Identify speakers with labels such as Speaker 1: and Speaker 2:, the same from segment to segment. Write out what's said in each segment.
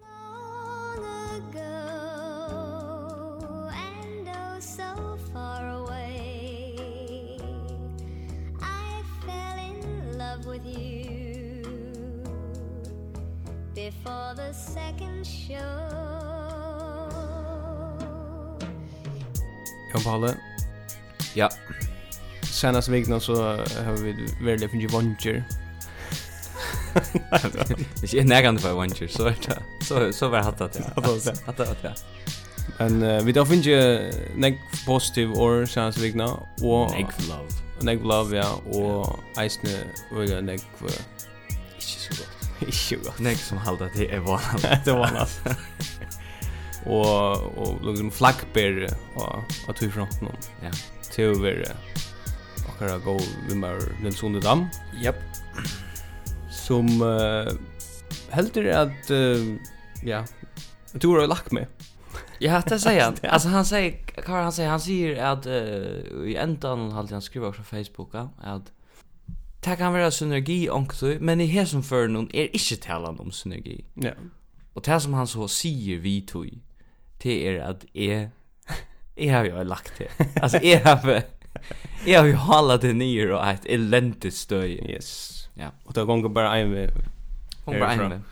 Speaker 1: oh, before the second show
Speaker 2: Jan Palle,
Speaker 3: Ja,
Speaker 2: senast vikna så har vi veldig finnet vondjer.
Speaker 3: hvis jeg nærkant er for Avenger, så er det, så, så var hatt at jeg.
Speaker 2: Hatt at det.
Speaker 3: Hatt at jeg.
Speaker 2: Men eh, vi har finnet nek positiv år senast vikna, og
Speaker 3: Egg love.
Speaker 2: nek love, ja, og eisne og nek
Speaker 3: Ikke så godt.
Speaker 2: ikke godt.
Speaker 3: Negg som halte at jeg er vanlig.
Speaker 2: Det var annars. Og, og liksom flaggber og av tog fronten om.
Speaker 3: Ja.
Speaker 2: Til å være akkurat gå vimmer Nils Hunde Dam.
Speaker 3: Japp.
Speaker 2: Som uh, heldur at, eh, ja, du har lagt med.
Speaker 3: Ja, det säger han. Alltså han säger Karl han säger han säger att eh, i ändan har han skrivit på Facebook ja, att Det kan vara synergi också, men i här som för någon är inte talan er om synergi.
Speaker 2: Ja.
Speaker 3: Och det som han så säger vi tog, det är att jag, jag har ju lagt det. Alltså jag har, jag har ju hållit det ner och ett eländigt stöj.
Speaker 2: Yes.
Speaker 3: Ja.
Speaker 2: Og det gonger bara en vi.
Speaker 3: Hon bara
Speaker 2: Härifrån.
Speaker 3: en med.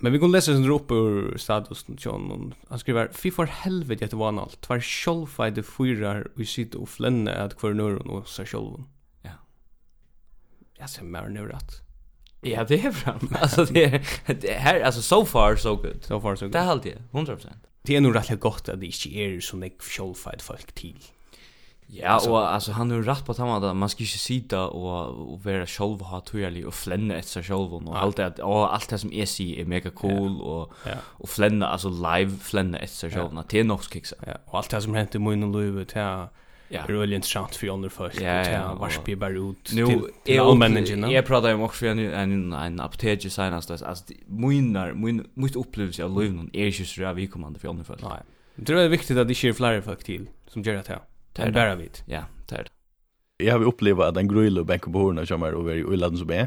Speaker 2: Men vi kunne lese sin rop ur statusen til honom. Han skriver, Fy for helvete etter vanalt, tver sjolvfeide fyrar og sitte og flenne at hver nøren og seg sjolven.
Speaker 3: Ja.
Speaker 2: Jeg ser mer nøvrat.
Speaker 3: Ja, det är fram. er, Alltså det är, det här, alltså so far so good.
Speaker 2: Så far så
Speaker 3: Det
Speaker 2: godt.
Speaker 3: har jag, 100%.
Speaker 2: Det er nog rätt gott att det inte är så nek sjolvfeide folk til.
Speaker 3: Ja,
Speaker 2: Alltså-
Speaker 3: og altså, han har rett på at han var da, man skal ikke sida og, og være sjolv og ha tøyerlig og flenne etter seg sjolv og alt det, at- og alt det som jeg sier er mega cool og,
Speaker 2: Ja.
Speaker 3: og flenne, altså live flenne etter seg sjolv, det er nok skiksa.
Speaker 2: Ja. Og alt det som hent i munnen og løyve, det er
Speaker 3: Ja.
Speaker 2: røylig interessant for andre folk.
Speaker 3: Ja,
Speaker 2: Det
Speaker 3: ja,
Speaker 2: er
Speaker 3: og-
Speaker 2: varspig bare ut
Speaker 3: Nu
Speaker 2: til, til
Speaker 3: jag
Speaker 2: allmänningen.
Speaker 3: jag pratar um om också en en en apoteke senast alltså minar min mitt upplevelse av livet är ju så vi kommer för andra fall.
Speaker 2: Nei. Jeg tror det er viktig at det ikke er flere folk til som gjør det her. Det
Speaker 3: er
Speaker 2: er
Speaker 3: det.
Speaker 2: bare vidt.
Speaker 3: Ja, er det är det.
Speaker 4: Jag har upplevt att en gröjl och bänk på horna som är över i Ulladen som är.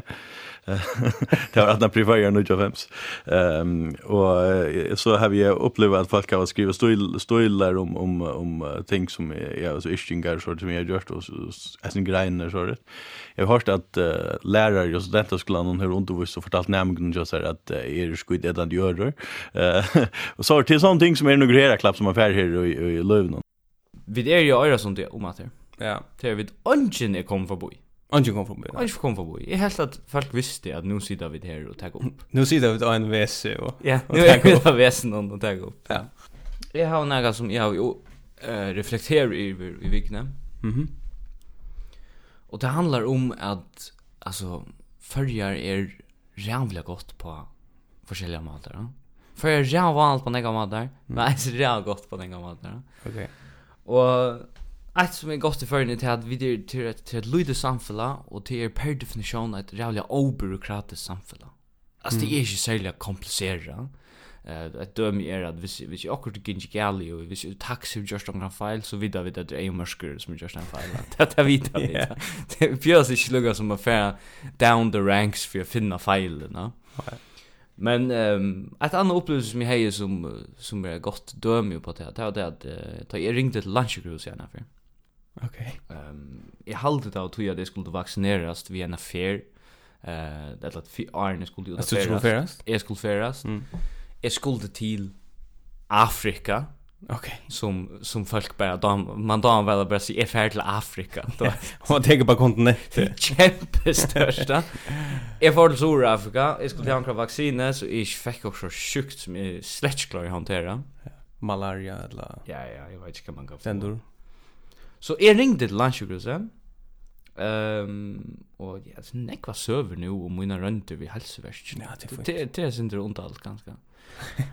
Speaker 4: det har att den prefererar nu av hems. Ehm och eh, så har vi upplevt att folk har skrivit stil stilar om om om eh, ting som är ja, så ishingar så som jag har gjort och så- så- alltså grejer så det. Jag har hört att eh, lärare och studenter skulle någon hur undervis och fortalt nämligen just här att eh, är det skit det den gör. Eh och så har till sånt ting som är några grejer klapp som affär här i, i Lövnen.
Speaker 3: Vi är ju öra som det om att det.
Speaker 2: Ja.
Speaker 3: Det är vid ungen är kom förbi.
Speaker 2: Anki kom från byen.
Speaker 3: Och kom förbi. Jag helt att folk visste att nu sitter vi här och tar upp.
Speaker 2: Nu sitter vi til ANVS E og...
Speaker 3: Ja,
Speaker 2: Og
Speaker 3: nu är
Speaker 2: taka
Speaker 3: det av väsen om att ta upp.
Speaker 2: Ja.
Speaker 3: Jag har några som jag har ju eh, reflekterat över i veckan.
Speaker 2: Mhm.
Speaker 3: Och det handlar om att alltså följar är jävla gott på olika matar. Ja? För jag är jävla vanligt på några matar, men jag är så jävla gott på några matar. Ja?
Speaker 2: Okej.
Speaker 3: Og ett som er godt i førjen er til at vi er til et, til et lydig samfella, og til er per definisjon et rævlig obyråkratisk samfella. Altså, det er ikke særlig komplisera. Uh, et døme er at hvis, hvis jeg akkurat gikk ikke gale, og hvis jeg taxi har gjort noen feil, så vidar vi at det er jo mørsker som har gjort en feil. Det er vidar vi.
Speaker 2: Ja.
Speaker 3: Det björs ikke lukka som å færa down the ranks for å finna feilen. No? Men um, ett annat upplevelse som jag hade som, eh, som är gott döm på det här, det var det att eh, ta- jag ringde till Landsjögrus i en affär.
Speaker 2: Okej.
Speaker 3: Um, jag halde det av tog jag det skulle vaccineras vid en affär. Uh, det är att Arne skulle ut
Speaker 2: Alltså du skulle ferast?
Speaker 3: Jag skulle färdas.
Speaker 2: Mm.
Speaker 3: Jag skulle till Afrika
Speaker 2: Okej.
Speaker 3: som som folk bara dam man dam väl bara se är färd till Afrika då
Speaker 2: Och tänker på kontinentet.
Speaker 3: Kjempestørsta. er Jeg får til Sør-Afrika, jeg skulle til ankra vaksine, så jeg fikk også sjukt som jeg slett ikke klarer å håndtere.
Speaker 2: Malaria eller...
Speaker 3: Ja, ja, jeg vet ikke hva man kan
Speaker 2: Stendur.
Speaker 3: Så jeg ringde til landsjukhuset, um, og ja, så nekva søver nå om mine rønter ved helseverst.
Speaker 2: Ja, det
Speaker 3: Det-
Speaker 2: får inte.
Speaker 3: Det det är synd det ont allt ganska.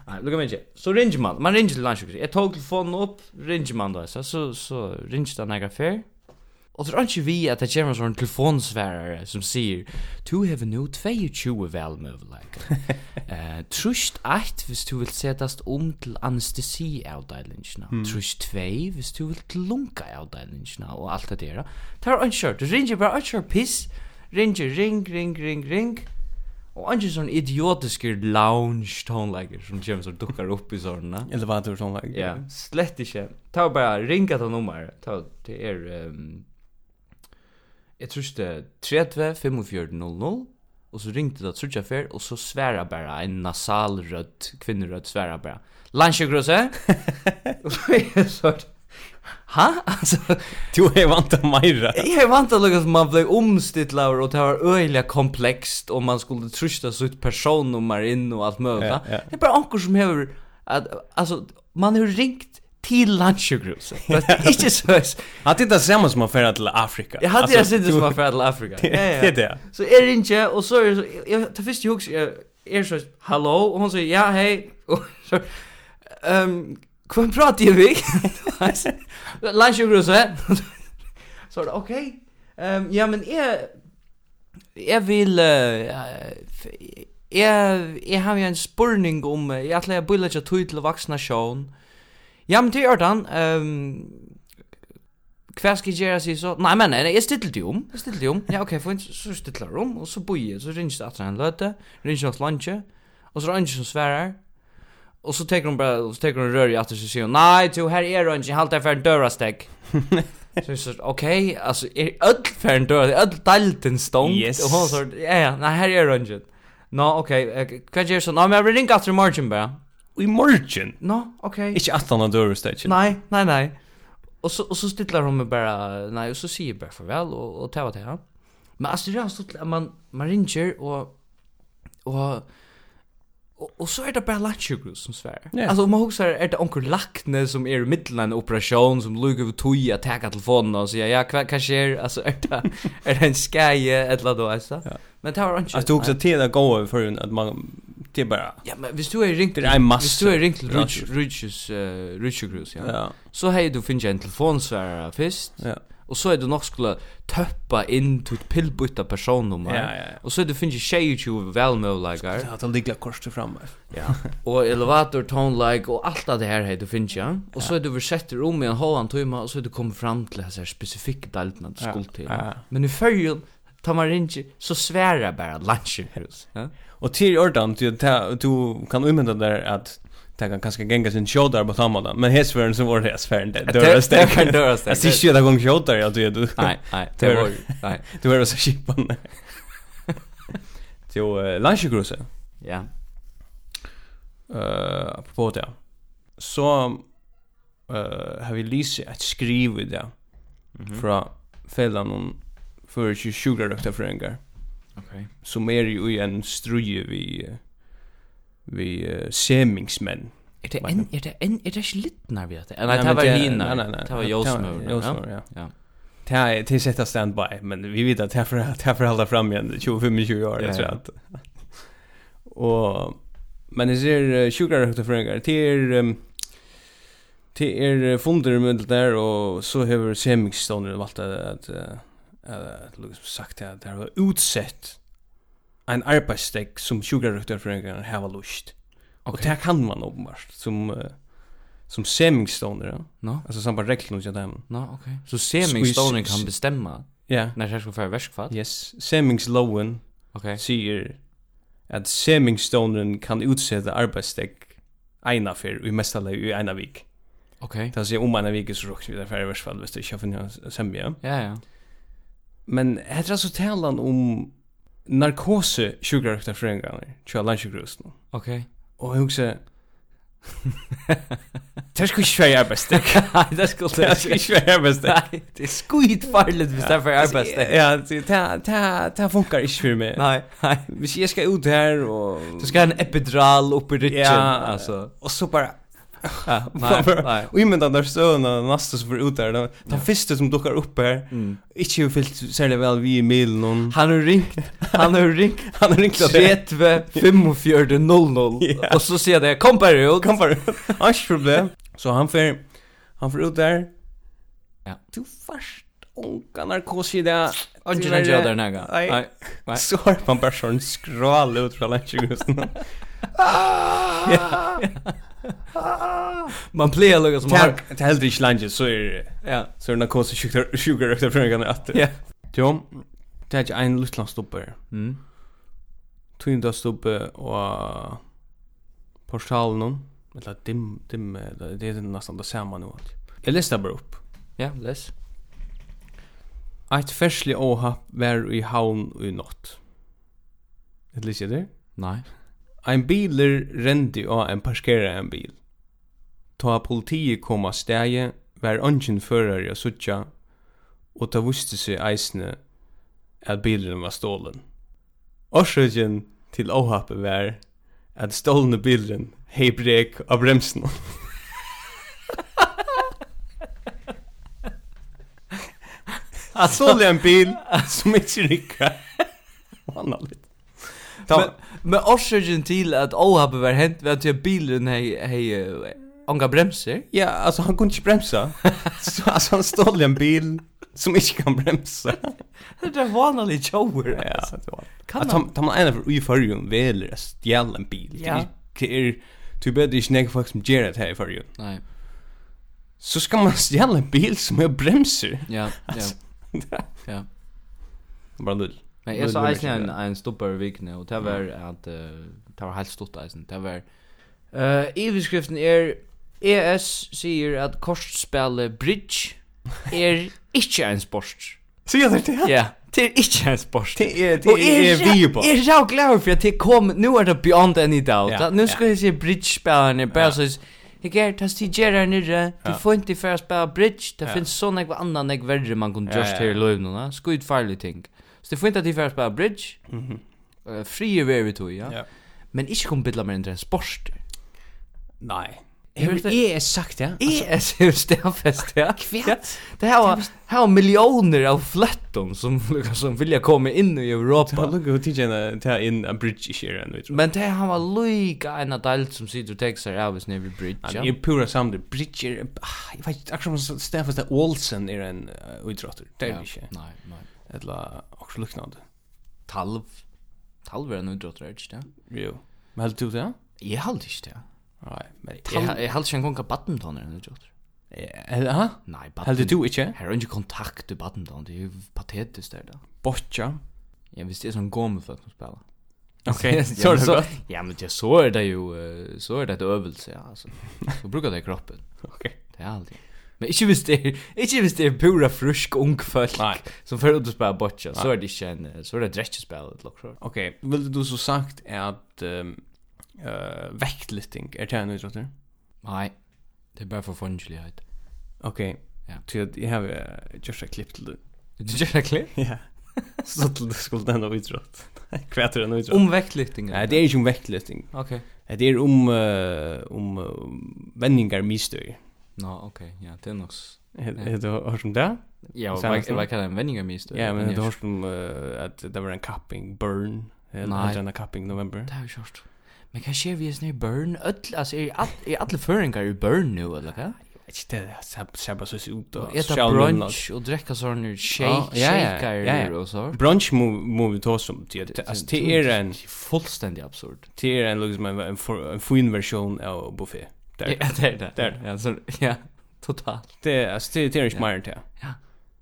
Speaker 3: Nej, lukka mig inte. Så ringer man. Man ringer till landsjukhuset. Jag tog telefonen upp, ringer man då. Så så, så ringer den här affär. Och så ringer vi att det kommer en sån telefonsvärare som säger Du have nu 22 välmöjligheter. Eh, trust 8 hvis du vill sättas om till anestesiavdelningarna. Mm. Trust 2 hvis du vill till lunkaavdelningarna och allt det där. Tar en shirt. Du ringer bara en shirt piss. Ringer, ring, ring, ring, ring. Og andre sånne idiotiske lounge tonelager som kommer som dukkar opp i sånne.
Speaker 2: Elevator sånn lag.
Speaker 3: Ja, slett ikke. Ta og bare ringa til nummer. Ta, det er, um, jeg tror ikke det er 30 45 00, Och så ringde det så jag för och så svära bara en nasal röd kvinnoröd svära bara. Lanchgrosse. och så är jag så Ha? Alltså,
Speaker 2: Du är vant att mera.
Speaker 3: jag är er vant att lukka som man blev omstittlad och det var öjliga komplext och man skulle trusta sitt personnummer in och allt möjligt.
Speaker 2: Ja, ja.
Speaker 3: Det är bara ankor som har, att, alltså, man har ringt till landsjögruset. Det er är inte så.
Speaker 2: Hade inte samma som man färra till Afrika.
Speaker 3: Jag hade jag sett det som var färd till Afrika. Ja, ja.
Speaker 2: Det är det.
Speaker 3: Så är det inte, och så är det så, jag tar först ihåg, jag är er, så, hallå, och hon säger, ja, hej, och så, ehm, kvem pratar jag vi? Landsjögruset. Så er det, okej, ehm, ja, men jag, jag vill, eh, jag, jag har ju en spurning om, eh, jag ætla jag bullar jag tog till vaxna sjön. Ja, men det gör den, ehm, Hva skal jeg gjøre, sier så? Nei, men nei, nei, jeg stiller det om, jeg stiller det om. Ja, ok, for så stiller det om, og så bor jeg, så ringer det etter en løte, ringer det lunche, og så er det andre som sverer, og så teker hun bare, og så teker hun rør i atter, så sier hun, nei, du, her er hun ikke, halte jeg for en dørasteg. så jeg sier, ok, altså, er ødel for en dørasteg, ødel dalten stånd,
Speaker 2: Yes.
Speaker 3: og hun sier, ja, ja, nei, her er hun ikke. Nå, ok, eh, hva gjør jeg så? Nå, men jeg vil ringe etter i morgen bare.
Speaker 2: I morgen.
Speaker 3: Nå, ok.
Speaker 2: Ikke att han har dörrstägen.
Speaker 3: Nej, nej, nej. Och så och så stillar hon mig bara nej och så säger jag bara farväl och och tävla till han. Men alltså det er har stått att man man ringer och och Och, och så är det bara latchgrus som svär.
Speaker 2: Ja.
Speaker 3: Alltså om man huxar är det onkel Lackne som är i mitten av en operation som lugg över tog att ta telefonen och säga ja kva- vad sker alltså är er det är det en skaje eller då alltså.
Speaker 2: Ja.
Speaker 3: Men det har inte.
Speaker 2: Alltså du också till att gå över förrän att man... Det är bara...
Speaker 3: Ja men visst du är ringt
Speaker 2: Det är en massa
Speaker 3: Visst du är ringt till
Speaker 2: latchgrus.
Speaker 3: Ruchus uh, Ruchus ja.
Speaker 2: Ja.
Speaker 3: Så hei du finnes en telefonsværare fyrst,
Speaker 2: Ja.
Speaker 3: og så er du nok skulle tøppa inn til et pillbytta personnummer,
Speaker 2: Ja, ja, ja.
Speaker 3: og så er du finnes 22 velmøvleikar,
Speaker 2: Det har tagit ligga korset framme.
Speaker 3: eh, og elevator, tonelike, og alt av det her hei du finnes, ja. Og så er du versett i rom i en halvan tøyma, og så er du kommet fram til hans her spesifikke deltene du
Speaker 2: Ja,
Speaker 3: skulle til.
Speaker 2: ja, ja.
Speaker 3: Men i fyrjun, tar man ringer, så sværer bare landsjøkrus, ja.
Speaker 2: Och till ordan, du, ta- du kan umynda där att det kan kanske gänga sin tjådar på samma Men hetsvärden så var det hetsvärden. Dörrstägen.
Speaker 3: Det er dørasteg.
Speaker 2: Jag ser inte att gång tjådar, ja du är du.
Speaker 3: Nei, nei, det
Speaker 2: Det var-
Speaker 3: var, nei,
Speaker 2: Du är så kippande. Jo, eh, landsjukruset.
Speaker 3: ja.
Speaker 2: Eh, apropå det. Så eh har vi lyst att skriva det
Speaker 3: Mhm.
Speaker 2: från fällan om för 27 rökta föreningar
Speaker 3: Ok.
Speaker 2: som är ju i en struje vi eh, vi eh, semingsmän.
Speaker 3: Er det
Speaker 2: Vet
Speaker 3: en, er det en, er det ikke litt nær vi at det? Nei,
Speaker 2: Nej,
Speaker 3: det
Speaker 2: men
Speaker 3: var
Speaker 2: det-
Speaker 3: hina.
Speaker 2: nej, nej, nej.
Speaker 3: Det var
Speaker 2: Det
Speaker 3: Jåsmøver.
Speaker 2: var Jåsmøver, ja.
Speaker 3: ja.
Speaker 2: Det här till sätta standby, men vi vet att det här för det er här för hålla fram igen 25 20 år
Speaker 3: Ja,
Speaker 2: jag tror
Speaker 3: ja.
Speaker 2: att. Och men det är 20 år högt föreningar. Det är ehm, det er, eh, är fonder med det där och så har semikstoner valt att att eh, att Lucas sagt att det här var utsett en arbetsdag som 20 år högt föreningar har lust. Och det här kan man uppenbart som eh, som semikstoner, ja.
Speaker 3: Nå,
Speaker 2: alltså samma regler som jag nämnde.
Speaker 3: nå, ok. Så
Speaker 2: semingsdonen
Speaker 3: semingsdonen
Speaker 2: kan
Speaker 3: kan bestemme
Speaker 2: Ja.
Speaker 3: når jeg skal føre verskfall?
Speaker 2: Yes, semingsloven
Speaker 3: Ok.
Speaker 2: sier at semingsstonen kan utsette arbeidsdekk eina fyr, i mesta leið i eina vik.
Speaker 3: Ok.
Speaker 2: Det sier om eina vik er så råkst vi det færre versfall hvis det ikke har funnet å semja.
Speaker 3: Ja, ja.
Speaker 2: Men heter altså talan om narkose sjukrarøkta frøyngarnir, tja landsjukrusen.
Speaker 3: Ok.
Speaker 2: Og jeg hugsa, det er sko ikke færre arbeidsdekk.
Speaker 3: Nei, det skulle
Speaker 2: Det er sko ikke færre arbeidsdekk.
Speaker 3: Nei, det er skuit farligt hvis det er for arbeidsdag.
Speaker 2: Ja, det, det, det, det funkar ikke for meg.
Speaker 3: Nei, nei.
Speaker 2: Hvis jeg skal ut her og...
Speaker 3: Du skal ha en epidural opp i rytjen,
Speaker 2: Ja,
Speaker 3: altså.
Speaker 2: Og så bara
Speaker 3: Ja, Nei, nei.
Speaker 2: Og imynda når støvna nasta som fyrir ut der Den den fyrste som dukkar upp her
Speaker 3: Mm.
Speaker 2: Ikki hefur fyllt særlig vel vi i milen og
Speaker 3: Han har ringt, han har ringt
Speaker 2: Han er ringt at det
Speaker 3: 30 45 00
Speaker 2: Ja.
Speaker 3: og så sier det kom bare ut.
Speaker 2: Kom bara ut Hans problem Så han fyrir Han fyrir ut der
Speaker 3: Ja.
Speaker 2: Du fast Onka narkosi i det
Speaker 3: Och den gör där några.
Speaker 2: Nei.
Speaker 3: Nej. Nei.
Speaker 2: Så har man er bara sån skral ut fra landsjukhusen
Speaker 3: Man plejer lugga som har.
Speaker 2: Det er heldur ikke landsjukhusen Så er
Speaker 3: Ja.
Speaker 2: Så er narkosi sjukar Sjukar Sjukar Sjukar
Speaker 3: Ja.
Speaker 2: Jo, det er ikke en luttlandstopper.
Speaker 3: Mm.
Speaker 2: Tyndastoppe og portalen om. Eller dim, dim, det er nesten det samme nå. Jeg leste bare opp.
Speaker 3: Ja, les.
Speaker 2: Eit ferslig åhapp var i havn i natt. Det ligger det.
Speaker 3: Nei.
Speaker 2: Ein biler rendi av en parkera en bil. Ta politiet kom av stegi, var ongen fører jeg suttja, og ta vuste seg eisne at bilen var stålen. Årsøkjen til åhappet var at stålne bilen hei brek av bremsen. Stålig en bil som ikke rykker. Vanlig. Ta-
Speaker 3: Men, men årsaken til at åhappet var hent ved at bilen hei, hei, eh, onga bremser.
Speaker 2: Ja, alltså han kunde inte bremsa. Så alltså han stod i en bil som inte kan bremsa.
Speaker 3: Det er vanlig tjover.
Speaker 2: Ja,
Speaker 3: altså.
Speaker 2: det var.
Speaker 3: Kan
Speaker 2: Att
Speaker 3: man?
Speaker 2: han er han är för i förrjun väl att stjäla en bil.
Speaker 3: Ja.
Speaker 2: Det är du vet det er är snägg folk som ger det här i förrjun.
Speaker 3: Nei,
Speaker 2: Så ska man stjäla en bil som er är bremser.
Speaker 3: ja, ja,
Speaker 2: Alltså.
Speaker 3: ja.
Speaker 2: Bara lull.
Speaker 3: Men jeg
Speaker 2: Lull,
Speaker 3: så
Speaker 2: lull,
Speaker 3: eisen en,
Speaker 2: lull.
Speaker 3: en stopper i vikene, og det var at, eh, det var helt stort eisen, det var, uh, iverskriften er, ES sier at kortspillet bridge er ikke en sport.
Speaker 2: Så jag tänkte ja.
Speaker 3: Ja, det er ikke en sport.
Speaker 2: Det är
Speaker 3: Og
Speaker 2: det är vi på.
Speaker 3: Jeg er så glad for at jeg kom, nu er det beyond any doubt.
Speaker 2: Ja,
Speaker 3: Ja, nu
Speaker 2: ja.
Speaker 3: skal jeg se bridge-spillerne, bare
Speaker 2: Ja.
Speaker 3: så jeg er tas til Gerard nere, du
Speaker 2: Ja.
Speaker 3: får ikke for å spille bridge, det
Speaker 2: Ja.
Speaker 3: finnes så nekva annan nek verre man kunne
Speaker 2: Ja,
Speaker 3: just
Speaker 2: ja,
Speaker 3: her i
Speaker 2: ja.
Speaker 3: løyvn, no? skuid farlig ting. Så du får ikke til for å spille bridge,
Speaker 2: Mhm.
Speaker 3: uh, fri er vi to, ja.
Speaker 2: Ja.
Speaker 3: Men ikke kom bidla mer enn en sport.
Speaker 2: Nej.
Speaker 3: Jag vet
Speaker 2: Har
Speaker 3: inte.
Speaker 2: är sagt det?
Speaker 3: Jeg er så stedfest, ja. Kvært? Det her
Speaker 2: er
Speaker 3: var, her var millioner av fletton som, som vilja komme inn i Europa.
Speaker 2: Bara lugga och titta eh, ta in a bridge here and vet.
Speaker 3: Men det han var lika en av delt som sitter och textar av oss nere vid bridge.
Speaker 2: Jag är
Speaker 3: Ja.
Speaker 2: er pura samtidigt. Bridger, ah, jag vet inte, akkurat som Stefan Olsen är en uh, utråttor. Det är det inte.
Speaker 3: Nej, nej.
Speaker 2: Eller också liknande.
Speaker 3: Talv. Talv är en utdrottare, inte det?
Speaker 2: Jo. Men helt du det?
Speaker 3: Jag hade inte det.
Speaker 2: Nej, men
Speaker 3: Jag jag hade inte en gång att badminton är en utdrottare.
Speaker 2: Ja,
Speaker 3: Nej,
Speaker 2: helt
Speaker 3: badminton. er
Speaker 2: du inte?
Speaker 3: Här har inte kontakt i badminton, det är ju patetiskt er där då.
Speaker 2: Botcha.
Speaker 3: Jag visste det är sån gomme för att spela.
Speaker 2: Okej, så
Speaker 3: er
Speaker 2: är det så.
Speaker 3: Ja, men det så är det ju, eh, så är det ett övelse, ja, alltså. Så brukar det i kroppen.
Speaker 2: Okej.
Speaker 3: Det är alltid. Men inte visst det är, inte visst det är pura frusk ung folk
Speaker 2: Nej.
Speaker 3: som för att spela boccia. Så
Speaker 2: Nej.
Speaker 3: är det inte en, eh, så är det ett rättspel ett lock så.
Speaker 2: Okej, vill du så sagt att ehm eh väktlyfting är det en utråttor?
Speaker 3: Nej. Det er är bara för fungelighet.
Speaker 2: Okej.
Speaker 3: Ja.
Speaker 2: Så jag- jag har eh, just ett klipp till dig.
Speaker 3: Du gör er det klipp?
Speaker 2: Ja. Så till du skulle den av utrått. Kvätter den utrått.
Speaker 3: Om vektlyftning.
Speaker 2: Nej, det er um är ju om väktlyfting.
Speaker 3: Okej.
Speaker 2: Det är om er eh, om eh, vändningar misstöj.
Speaker 3: Nå, okej. Ja, det är nog... s-
Speaker 2: Har du hört om det?
Speaker 3: Ja, och
Speaker 2: Sen
Speaker 3: vad
Speaker 2: nästa.
Speaker 3: vad kallar en vändning av mig
Speaker 2: Ja, men det hörs om eh, att det var en capping burn.
Speaker 3: Nej.
Speaker 2: Nej. Det var en capping november.
Speaker 3: Det har jag kört. Men kan ske vi är snö er i burn er öll alltså är all är alla föringar i burn nu eller vad?
Speaker 2: Det är så bara så ut
Speaker 3: Och äta brunch och dricka sån
Speaker 2: Ja,
Speaker 3: shake
Speaker 2: ja, ja, ja,
Speaker 3: shaker
Speaker 2: ja.
Speaker 3: och så.
Speaker 2: Brunch må vi ta som till
Speaker 3: Det-
Speaker 2: alltså
Speaker 3: det-
Speaker 2: till är er en
Speaker 3: fullständigt absurd.
Speaker 2: till är en liksom en en for- en fin version av buffé. Där.
Speaker 3: Ja, det är det.
Speaker 2: Där.
Speaker 3: Ja, så ja, totalt.
Speaker 2: Det är alltså det är inte mer till.
Speaker 3: Ja.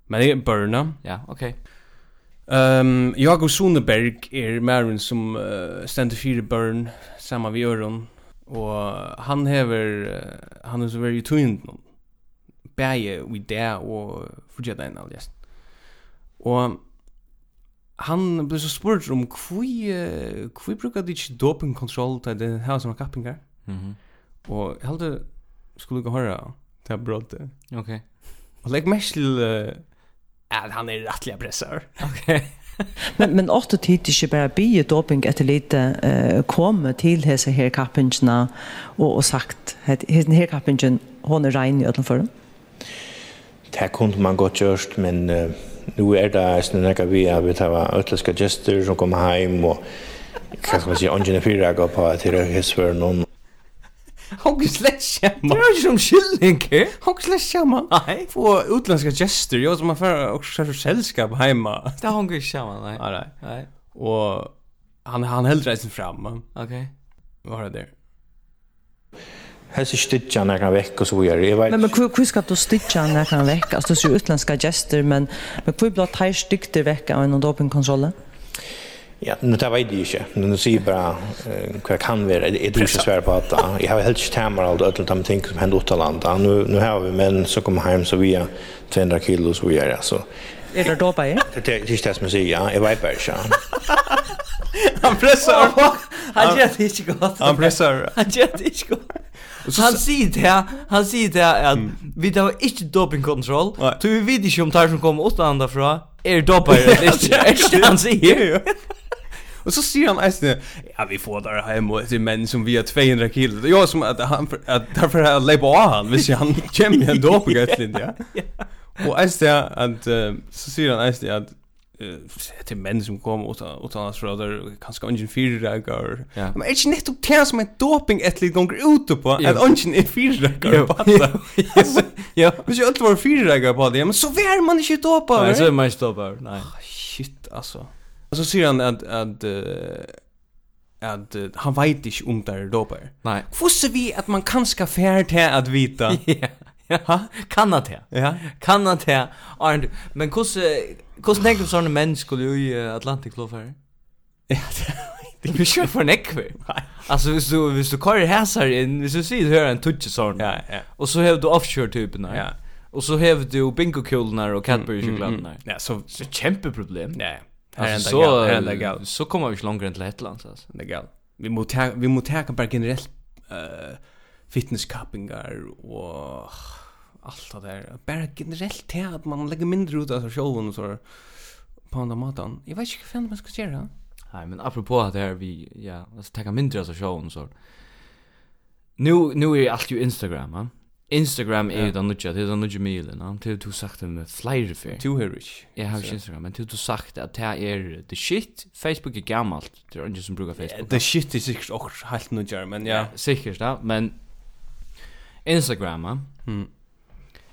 Speaker 2: Men det er är burna.
Speaker 3: Ja, okej.
Speaker 2: Ehm Jakob er Sonneberg är Marin som uh, ständer fyra burn samma vi gör hon och han häver eh, han är så väldigt tunn någon bäge vi där och fortsätta en alltså. Och han blev så spurt om kvi um eh, kvi brukar det doping control till den här som har kappingar
Speaker 3: Mhm.
Speaker 2: och jag hade skulle gå höra det här brottet.
Speaker 3: Okej.
Speaker 2: Och lägg mest till eh, er att han är rättliga pressar.
Speaker 5: Men, men ofte tid ikke bare bygge doping etter lite uh, komme til hese her kappingene og, og sagt at hese her kappingen, hun er rein i ødelen for dem.
Speaker 6: Det kunde man godt gjort, men uh, nu er det eisne nekka vi at vi tar øtleska gester som kommer heim, og hva skal man si, ungen er fyra går på at det er hessføren noen.
Speaker 2: Hon släcker.
Speaker 3: Det är ju som skillningar.
Speaker 2: Hon släcker man. Nej. Få utländska gäster. Jag som man för och så sällskap hemma.
Speaker 3: Det har hon inte samma, nej.
Speaker 2: Ja, nej.
Speaker 3: Nej.
Speaker 2: Och han han höll reisen fram.
Speaker 3: Okej.
Speaker 2: Vad har det där?
Speaker 6: Hesse stidja nekka vekk og så videre. Jeg vet
Speaker 5: Men, men hvor, hvor skal du stitcha når han vekk? Altså, du ser utländska gester, men, men hvor blir det stykter vekk av en dopingkontrolle?
Speaker 6: Ja, nu tar jag det inte. Men nu säger jag bara eh, vad jag kan vara. Jag tror inte svär på att ja. jag har helt inte tämmer allt ödligt om ting som händer åtta land. Ja, Nu, nu har vi män som kommer hem så vi är 200 kilo och så vidare. Så
Speaker 5: Er det dopa i?
Speaker 6: det det är inte det som jag säger. Ja, jag vet bara inte. ja.
Speaker 3: Han pressar. Han gör det inte gott.
Speaker 2: Han pressar.
Speaker 3: Han gör det inte gott. Han säger det här, han säger det här att vi tar inte dopingkontroll.
Speaker 2: Nej.
Speaker 3: Så vi vet inte om tar som kommer åt andra från är dopare eller inte. Är det han säger?
Speaker 2: Och så ser han eisne, ja vi får där hem och det är män som vi har 200 kilo. Jag som att han att därför har jag lägger er av han, visst jag, han kommer en dop ja. Och eisne att eh, så ser han eisne att eh, till män som kommer åt åt hans bröder kanske ingen fyra dagar.
Speaker 3: Ja.
Speaker 2: Men är det inte det som en doping ätlig gånger ute på
Speaker 3: Jo.
Speaker 2: att ingen är fyra dagar på det.
Speaker 3: Ja.
Speaker 2: Men jag tror fyra dagar på det, men så vär man inte dopar.
Speaker 3: Nej,
Speaker 2: right?
Speaker 3: så är man inte dopare. Nej.
Speaker 2: Ah, Shit, alltså. Och så säger han att att eh, att eh, han vet inte om det er är dopar.
Speaker 3: Nej.
Speaker 2: Fusse vi att man kanske fär till att vita.
Speaker 3: Ja. Ja. Kan han det?
Speaker 2: Ja.
Speaker 3: Kan han det? Arnd, men hur hur tänker du såna män skulle ju i Atlantic Love här?
Speaker 2: Ja, er
Speaker 3: Det er blir ju för nekver. Alltså hvis du hvis du kör häsar in, hvis du ser hör en touch sån.
Speaker 2: Ja, ja.
Speaker 3: Och så har du offshore typen där.
Speaker 2: Ja. Mm,
Speaker 3: Och så har du bingo kulnar och Cadbury chokladen där.
Speaker 2: Ja, så
Speaker 3: Så kämpe problem.
Speaker 2: nej. Här är
Speaker 3: Alltså,
Speaker 2: er det gal, här är det
Speaker 3: så
Speaker 2: gal.
Speaker 3: så kommer vi inte längre än till Lettland alltså.
Speaker 2: Det är gal. Vi måste ta vi måste ta bara generellt eh fitnesskappingar och allt det där. Bara generellt till att man lägger mindre ut av sig själv och så på andra maten. Jag vet inte vad fan er man ska göra.
Speaker 3: Nej, men apropå att det här vi ja, alltså ta mindre alltså showen så. Nu nu är allt ju er Instagram, va? Instagram är ju den nya, det är den nya mailen, va? Till du sagt med flyer för.
Speaker 2: Two herish.
Speaker 3: Jag har ikke Instagram, men du har sagt at det er the shit. Facebook er gammalt, det er ikke som brukar Facebook.
Speaker 2: Eh, Det shit är sikkert också helt nödvändigt, men ja.
Speaker 3: Sikkert da, men Instagram, ja.
Speaker 2: Hmm.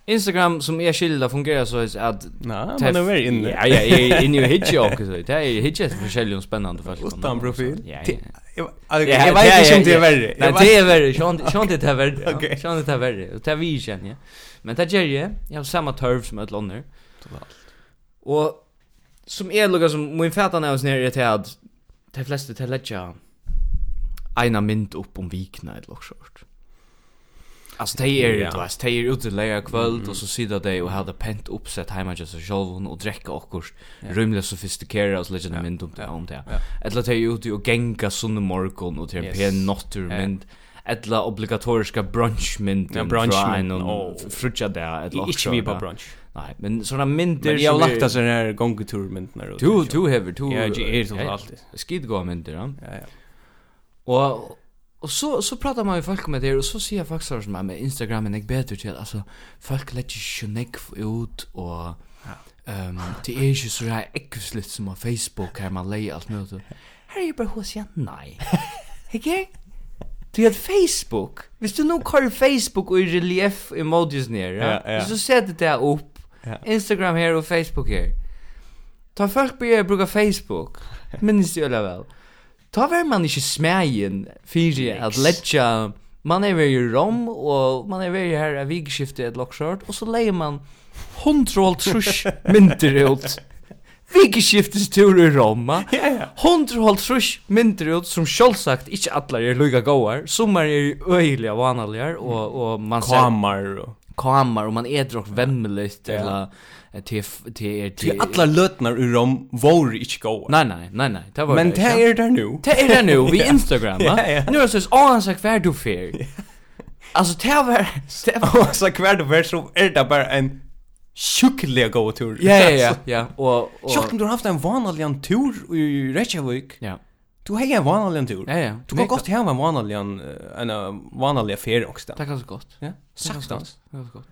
Speaker 3: Instagram som er skilda fungerar så er at...
Speaker 2: Nej,
Speaker 3: det
Speaker 2: man är väl inne.
Speaker 3: Ja, ja, jeg er inne i hitje også, så det er hitje etter forskjellige og spennende folk.
Speaker 2: Utan profil.
Speaker 3: Ja,
Speaker 2: Ti-
Speaker 3: ja.
Speaker 2: Jag- Jag vet inte om det är värre.
Speaker 3: Nei,
Speaker 2: Jag
Speaker 3: det
Speaker 2: vet-
Speaker 3: er verre, sjån det er verre, ja.
Speaker 2: Ok.
Speaker 3: sjån det er verre, og det er vi kjenner, ja. Men det gjør jeg, jeg har samme tørv som et lander.
Speaker 2: Totalt.
Speaker 3: Og som er lukka som min fætan er oss nere til at de fleste til letja eina mynd opp
Speaker 2: um
Speaker 3: om vikna et lukk short. Altså, de er,
Speaker 2: Ja. Mm.
Speaker 3: du veist, de er ute til leia kvöld, og så sida de og hadde pent oppsett heima til seg sjolvun og drekka okkurs rymlig sofistikera og så letja en mynd um om det, om det.
Speaker 2: Ja.
Speaker 3: Etla de er ute og genga sunne morgon og til en
Speaker 2: Yes.
Speaker 3: pen nottur
Speaker 2: Ja.
Speaker 3: mynd, etla obligatoriska um brunchmynden
Speaker 2: Ja, Oh.
Speaker 3: fra
Speaker 2: brunchmynden,
Speaker 3: en
Speaker 2: åh.
Speaker 3: frutja der,
Speaker 2: Jag
Speaker 3: etla
Speaker 2: är inte vi på brunch.
Speaker 3: Nei, men sånne mynder
Speaker 2: er Men jag har
Speaker 3: som
Speaker 2: lagt
Speaker 3: er-
Speaker 2: oss den här gångeturmynden här.
Speaker 3: Du du hever du
Speaker 2: Ja, det är så alltid.
Speaker 3: Skid gå med det. Ja.
Speaker 2: Ja, ja.
Speaker 3: Och och så så pratar man ju folk med det och så ser jag faktiskt sådär som med Instagram er är bättre till alltså folk lägger ju neck ut och ehm det är ju så där äckligt som på Facebook här man lägger allt möjligt. Här är ju bara hos jag nej. Okej? Du har Facebook. Hvis du nu kör Facebook och i relief emojis ner, ja,
Speaker 2: Ja, ja.
Speaker 3: så sätter det upp
Speaker 2: Ja.
Speaker 3: Instagram här och Facebook här. Ta folk börjar bruka Facebook. Minns du eller väl? Ta var man inte smägen för att lägga man är i rom och man är väl här av vigskiftet ett lockshort och så lägger man hundrolt trusch mynter ut. Vigskiftets tur i Rom. va?
Speaker 2: Ja, ja.
Speaker 3: Hundrolt trusch mynter ut som självsagt inte alla är lika goar. Sommar är öjliga vanliga och och man
Speaker 2: Kamar och...
Speaker 3: kamar och man är dock vemmeligt eller eh, till till
Speaker 2: Till alla lötnar ur dem vore inte goa.
Speaker 3: Nej nej nej nej. Det var
Speaker 2: Men
Speaker 3: det
Speaker 2: det
Speaker 3: ikke.
Speaker 2: är där nu.
Speaker 3: Det är det nu vi Instagram er va.
Speaker 2: Ja, ja.
Speaker 3: Nu är det så åh han sa kvar du fer. Alltså det var det var
Speaker 2: Och er så kvart och värst så är det er bara en sjukliga goa tur.
Speaker 3: Ja ja ja ja och och
Speaker 2: Sjokt om du har haft en vanlig en tur i Reykjavik.
Speaker 3: ja.
Speaker 2: Du har en vanlig en tur.
Speaker 3: Ja ja.
Speaker 2: Du kan gott ha en vanlig en en vanlig affär också.
Speaker 3: Tack så gott.
Speaker 2: Ja. er Saktans.
Speaker 3: Det var så gott.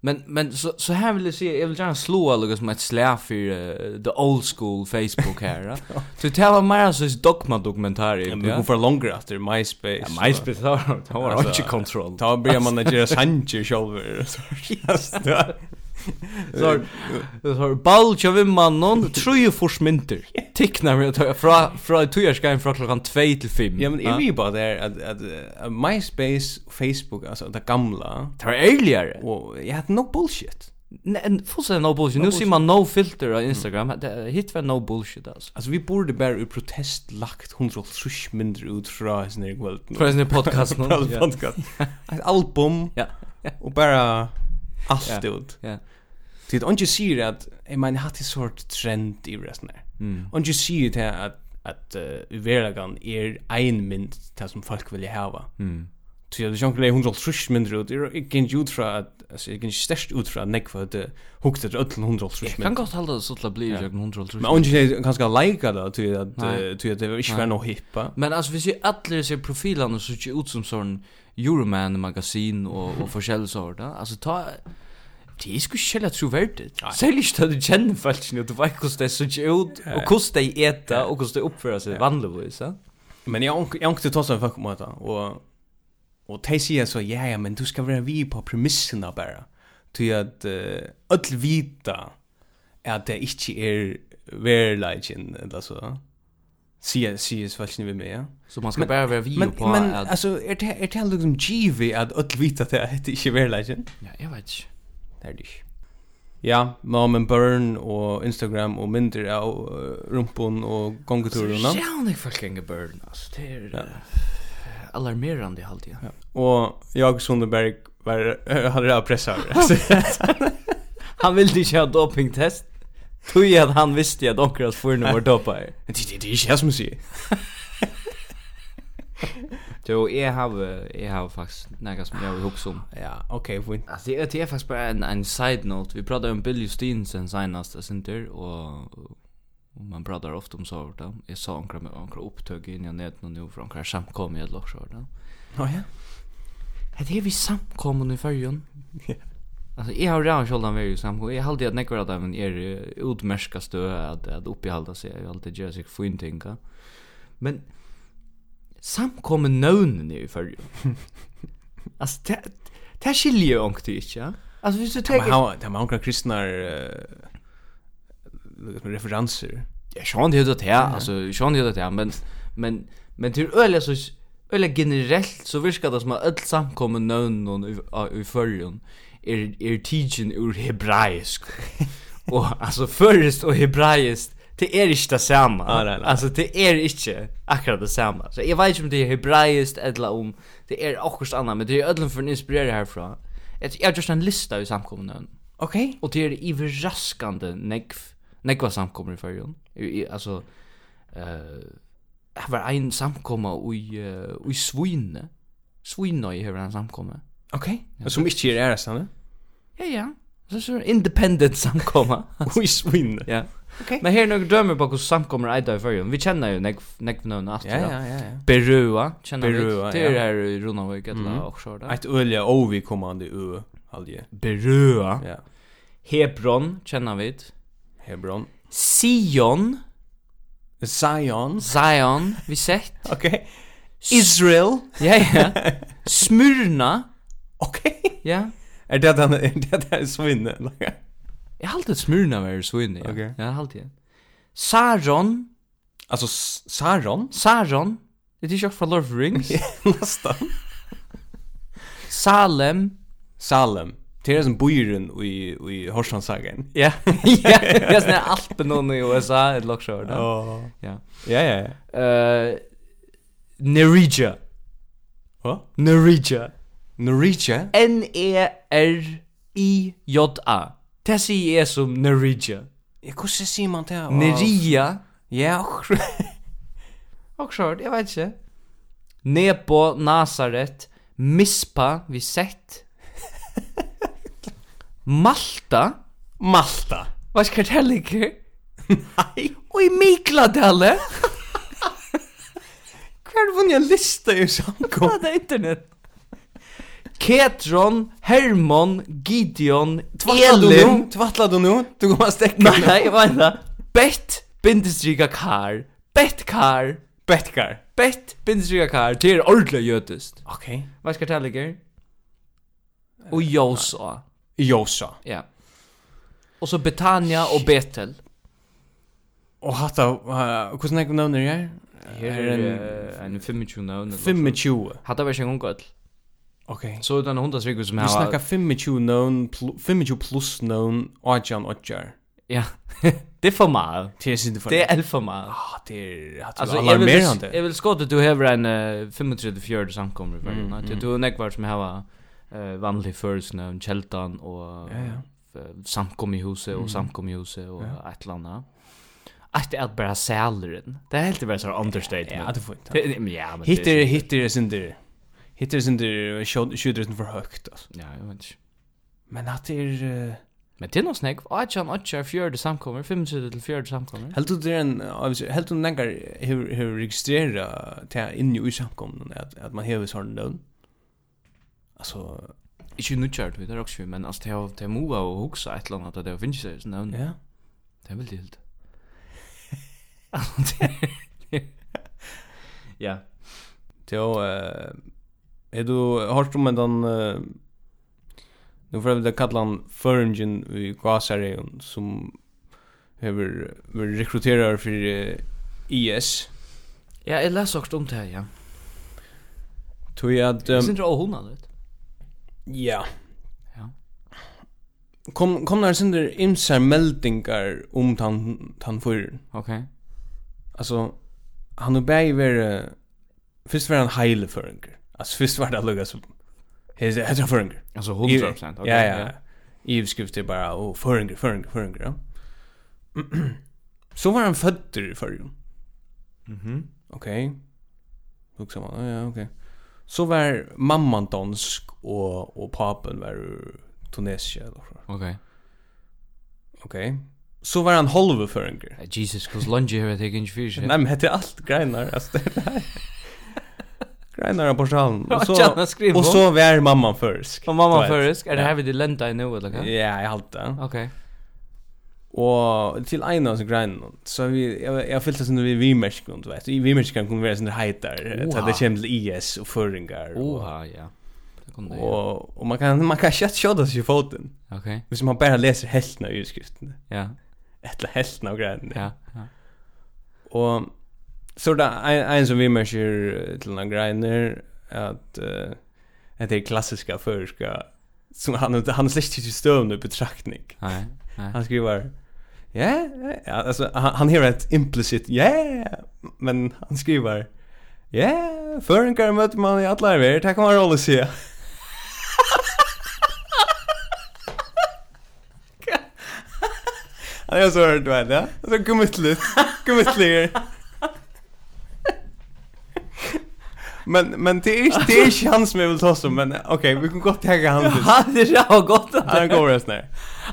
Speaker 3: Men men så så här vill jag se jag vill gärna slå alltså som ett slag för eh, the old school Facebook här. va? Så det här var mer så dogma dokumentarier.
Speaker 2: Men vi går för längre efter MySpace.
Speaker 3: Ja, MySpace har har
Speaker 2: Alltså,
Speaker 3: inte kontroll.
Speaker 2: Ta börjar man att göra Sanchez själv. Så
Speaker 3: Så så ball jag vem man någon tror ju försminter. Ticknar vi att ta från från tujarskan från klockan 2 till 5.
Speaker 2: Ja men är vi bara där att att eh, MySpace och Facebook alltså det gamla
Speaker 3: tar ärligare.
Speaker 2: och jag hade nog bullshit.
Speaker 3: Nej, fullständigt no bullshit. Nu ser man no filter på Instagram. Det- er Hit var no bullshit alltså.
Speaker 2: Alltså vi borde bara ur protest lagt 130 mindre ut från hans ner kvällen.
Speaker 3: För den här podcasten.
Speaker 2: Från podcast. Ett album
Speaker 3: Ja.
Speaker 2: och bara allt
Speaker 3: Ja.
Speaker 2: ut.
Speaker 3: Ja.
Speaker 2: er
Speaker 3: Mm.
Speaker 2: Tid onge sier at, jeg mener, hatt i sort trend i resten her. Onge sier til at, at uh, i verlagan er ein mynd det som folk vilja hava.
Speaker 3: Mm.
Speaker 2: Så jag tänker det är 150 mindre ut. Jag kan ju ut från att alltså jag kan ju störst ut från näck för att hookt det öll 150
Speaker 3: Jeg kan
Speaker 2: mindre.
Speaker 3: godt halda det så til å bli
Speaker 2: Ja.
Speaker 3: i jøkken hundra og
Speaker 2: Men om du kanske lika då till att
Speaker 3: Nej.
Speaker 2: eh, till att det inte var någon hippa.
Speaker 3: Men alltså vi ser alla ser profilerna så ser ut som sån Euroman magasin och och forskjellig sort, ja. Alltså ta Det är sgu skjellig troverdigt. Særlig ikke at du kjenner falskene, du vet hvordan det ser ut, og hvordan de eta, och hvordan de oppfører seg vanligvis, ja.
Speaker 2: Men jag ank- jag ankte tossa fuck mot det och och te säger så ja ja men du ska vara vi på premisserna bara. Till att eh, öll vita att det inte är verligen eller så. Sia sia falsk ni vill med. Ja?
Speaker 3: Så man ska
Speaker 2: Men-
Speaker 3: bara vara vi
Speaker 2: Men
Speaker 3: på
Speaker 2: men
Speaker 3: att-
Speaker 2: alltså är det är det liksom givet att öll vita att det inte är verligen?
Speaker 3: Ja, jeg vet ikke.
Speaker 2: Det er det ikke. Ja, Mom and Burn og Instagram og mindre av uh, rumpun og gongeturene.
Speaker 3: Ja, hun er fucking burn, altså. Det er
Speaker 2: Ja.
Speaker 3: eh, alarmerande i halvtid. Ja.
Speaker 2: Og jag Sunderberg var, eh, hadde det pressa over.
Speaker 3: Han ville ikke ha dopingtest. Tog at han visste at akkurat forne var dopa i.
Speaker 2: Det, det, det er ikke jeg som sier.
Speaker 3: Jo, jeg har, jeg har faktisk nægget som jeg vil huske om.
Speaker 2: Ja, ok, fint.
Speaker 3: Alltså det är er faktiskt bara en, en side note. Vi um pratade om Billy Steensen senast, jag synte, och, och man pratar um ofta om sådär. då. Jag sa ankra med ankra upptugg in i nätet nu för ankra samkom i ett lock sådär. då.
Speaker 2: Nå ja.
Speaker 3: Det är vi samkommun i färgen. Alltså jag har redan själv varit i samkommun. Jag har alltid att nekvar att även er utmärska stö att, att uppehålla sig. Jag har alltid gör sig få in tänka. Men samkommun nönen i färgen. alltså det, det skiljer ju ångt inte. Ja? Alltså hvis du
Speaker 2: Det
Speaker 3: tänker...
Speaker 2: var mange kristne uh, referanser.
Speaker 3: Ja, sjön det det här. Alltså sjön det det här. Men, men, men till öliga så... Öliga generellt så virkar det som att öll samkommun nönen i, i färgen er, er tidsen ur hebraisk. och alltså förrest och hebraiskt det är inte det samma.
Speaker 2: Ah, nej, nej.
Speaker 3: Alltså det är inte akkurat det samma. Så jag vet inte om det är hebraiskt eller om det är också annat, er men det är ödlen för att inspirera härifrån. Jag jag har just en lista i samkommunen. Okej. Och det är överraskande negv, negva samkommor i färgen. I, i, alltså, eh det var en samkomma i, uh, i Svine. Svinøy har en samkomma.
Speaker 2: Ok. Som ikke er ærestande.
Speaker 3: Ja, ja. Så så er independent samkomma.
Speaker 2: Ui, svinn.
Speaker 3: Ja. Men her er noen dømmer på hvordan er samkommer eida i førjen. Vi kjenner jo negv nøvn at
Speaker 2: Ja, ja, ja. ja.
Speaker 3: Berua, kjenner
Speaker 2: Berøa,
Speaker 3: vi. Det er
Speaker 2: ja. Mhm.
Speaker 3: her i Runavik, et eller offshore der.
Speaker 2: Eit ølja ovikommande ø, halvje.
Speaker 3: Berua.
Speaker 2: Ja.
Speaker 3: Hebron, kjenner vi.
Speaker 2: Hebron.
Speaker 3: Sion,
Speaker 2: Zion.
Speaker 3: Zion, vi sett.
Speaker 2: Ok. Israel.
Speaker 3: Ja, ja. Smyrna,
Speaker 2: Ok.
Speaker 3: ja.
Speaker 2: Er det den er det den svinne?
Speaker 3: Jeg har alltid Smyrna var så inne, ja.
Speaker 2: Ok.
Speaker 3: Ja, jeg har alltid. Saron,
Speaker 2: Alltså S- Saron
Speaker 3: Saron. Det er ikke fra Lord of the Rings.
Speaker 2: nästan.
Speaker 3: Salem.
Speaker 2: Salem. Det är som byren i i Horshamsagen.
Speaker 3: Ja, ja. Det er sånn Alpen og i USA, et lokshore der.
Speaker 2: Oh.
Speaker 3: Ja.
Speaker 2: Ja ja ja.
Speaker 3: Eh Nerija.
Speaker 2: Va?
Speaker 3: Nerija.
Speaker 2: Norwegia.
Speaker 3: N E R I J A. Det sier jeg som Nerija.
Speaker 2: Ja, hur ser man det?
Speaker 3: Nerija.
Speaker 2: Ja. och-
Speaker 3: Og sjørt, jeg vet ikke. Nebo, Nazaret, Mispa, vi sett. Malta.
Speaker 2: Malta.
Speaker 3: Hva skal det ligge? Nei. Og i Mikladale.
Speaker 2: Kvar vann jag lista ju som
Speaker 3: Hva er det internett? Ketron, Hermon, Gideon, Elim.
Speaker 2: Tvattla du nu? Du kommer att stäcka.
Speaker 3: Nei, jeg vet det. Bett, bindestryka kar. Bett kar.
Speaker 2: Betkar.
Speaker 3: Bett, bindestryka kar. Det er ordentlig jødest.
Speaker 2: Okej.
Speaker 3: Hva skal det ligge? Og Josa.
Speaker 2: Josa.
Speaker 3: Ja. Og så Betania og Betel.
Speaker 2: Och hatta eh, hur snackar vi nu när
Speaker 3: Her
Speaker 2: er
Speaker 3: er en 25 navn.
Speaker 2: 25.
Speaker 3: Hatta var ikke en gongøll.
Speaker 2: Okej.
Speaker 3: Så er utan hundra svikker som
Speaker 2: Vi
Speaker 3: her
Speaker 2: snackar 25 known pl- 25 plus known Arjan Otjar.
Speaker 3: Ja. det er for meget.
Speaker 2: Det är inte för
Speaker 3: Det er alt for meget.
Speaker 2: Ah, det är att
Speaker 3: Altså,
Speaker 2: alltså
Speaker 3: jeg vil, jeg
Speaker 2: alarmerande.
Speaker 3: vil skåte at du hever en uh, 35-40 samkommer i verden. Mm, Du er nekvar som hever uh, vanlig førelsene om kjeltan og
Speaker 2: Ja, Mm. ja.
Speaker 3: eh, uh, samkom i huset og samkom i huset og et eller annet. att att bara sälaren. Det är helt bara så understatement.
Speaker 2: Ja, det får inte.
Speaker 3: Det- men Ja, men det är
Speaker 2: Hittir hittir sindir. Hittir sindir skjuter utan för högt alltså.
Speaker 3: Ja, jag vet inte.
Speaker 2: Men att det är eh,
Speaker 3: Men det är nog snägg. 18, 18, 4 samkommer, 25 till 4 samkommer.
Speaker 2: helt ut det är en jag vill säga, helt ut nägar hur hur registrera till in i samkomna att att man har sån lön. Alltså
Speaker 3: Ikke nu kjørt, det er også, men altså, det er- det er moa og huksa et eller annet, at det er finnes det, sånn,
Speaker 2: ja.
Speaker 3: det er veldig helt. Altså, det er- Ja.
Speaker 2: Då eh är du hört om den eh, nu får vi kalla han Föringen i Gazareon som över rekryterar för eh, IS.
Speaker 3: Ja, jeg leser også om det her, ja.
Speaker 2: Tror jag att
Speaker 3: Det
Speaker 2: ehm,
Speaker 3: synes jeg også hundene, vet du.
Speaker 2: ja.
Speaker 3: Ja.
Speaker 2: Kom kom när sen där imsar meldingar um om han han för
Speaker 3: Ok.
Speaker 2: alltså han och Berg var först var han heile föringer. Alltså först var det lugga som heter heter föringer.
Speaker 3: Altså 100%, ok.
Speaker 2: Ja, ja. I skrifter bara, åh, föringer, föringer, föringer, ja. Så var han fötter i förrjun.
Speaker 3: Mhm.
Speaker 2: Okej. Okay. Huxar man, ja, okej. Så var mamman dansk och, och papen var ur Tunesien. eller så.
Speaker 3: Ok.
Speaker 2: Okej. Så var han halve föringer.
Speaker 3: Eh, Jesus, hos lunge her, jeg tenker ikke fyrir seg.
Speaker 2: Nej, men det är allt greinar, alltså det där. Greinar på sjalen.
Speaker 3: Ja,
Speaker 2: Och
Speaker 3: tjena,
Speaker 2: så,
Speaker 3: skriv
Speaker 2: och
Speaker 3: på.
Speaker 2: så var mamman först.
Speaker 3: um? Og mamma
Speaker 2: Du vet.
Speaker 3: først, er det her vi til lenda i nu, eller hva?
Speaker 2: Ja, jag halte det.
Speaker 3: Ok.
Speaker 2: Og til ein av greinen, så vi, jeg, jeg fyllte sånn vi vimerskene, du vet, i vimerskene kunne være sånne heitar,
Speaker 3: Oha.
Speaker 2: til det kommer til IS og føringar, og,
Speaker 3: Oha, ja. Det kunne det, ja.
Speaker 2: og, og man kan, man kan kjatt sjåda seg i foten,
Speaker 3: Ok,
Speaker 2: hvis man bare leser helten av utskriftene,
Speaker 3: ja,
Speaker 2: etter helten av greinen.
Speaker 3: ja, ja.
Speaker 2: Og så er det ein, ein som vimersker til den greiner, at, uh, at det er klassiska føriska, som han, han er slett ikke støvende betraktning.
Speaker 3: Nei, nei.
Speaker 2: Han skriver Ja, ja alltså han, han har ett implicit ja, men han skriver Ja, förenkar möter man i alla er, det kan man rolla se. Han är så hört du vet, ja. Så gummutligt, gummutligare. Men men det är inte det är inte han som jag vill ta som men okej vi kan godt ta han till.
Speaker 3: Han er så godt at
Speaker 2: Han går oss ner.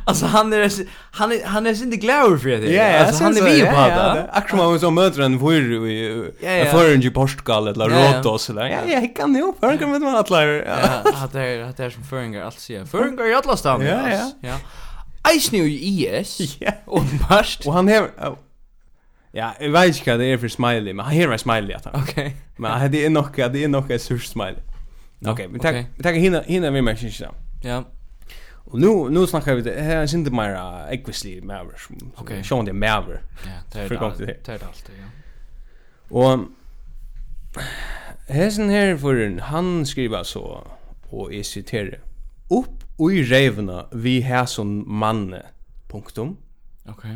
Speaker 3: Alltså han är han är han er är inte glad för det.
Speaker 2: Ja, er- ja,
Speaker 3: alltså han är
Speaker 2: vi
Speaker 3: vi på
Speaker 2: det.
Speaker 3: det.
Speaker 2: Akkurat man som möter en för i
Speaker 3: Ja, ja.
Speaker 2: förrän i Portugal eller
Speaker 3: Ja, ja.
Speaker 2: Rotos eller. Ja, ja, jag kan ju förrän kan man alla. Ja.
Speaker 3: Ja, att det är att det är er som föringar allt säger. Föringar i alla stan.
Speaker 2: Ja, ja.
Speaker 3: Ja. Ice New IS.
Speaker 2: Ja.
Speaker 3: Och mest.
Speaker 2: Och han har Ja, jag vet inte vad det är för smiley, men han har en smiley att han.
Speaker 3: Okej.
Speaker 2: Men det är nog det är nog en sur smiley.
Speaker 3: Ja,
Speaker 2: Okej, vi tackar
Speaker 3: okej.
Speaker 2: vi tackar hinna hinna vi mer syns.
Speaker 3: Ja.
Speaker 2: Och nu nu snackar vi det här är inte mer equously mer.
Speaker 3: Okej.
Speaker 2: Okej. Sean det mer.
Speaker 3: Ja, det är
Speaker 2: För
Speaker 3: det.
Speaker 2: kom till
Speaker 3: all-
Speaker 2: det.
Speaker 3: Det är det alltid, ja.
Speaker 2: Og hesen her for han skriver så, og jeg siterer, Upp ui reivna vi hæson manne, punktum,
Speaker 3: Okej.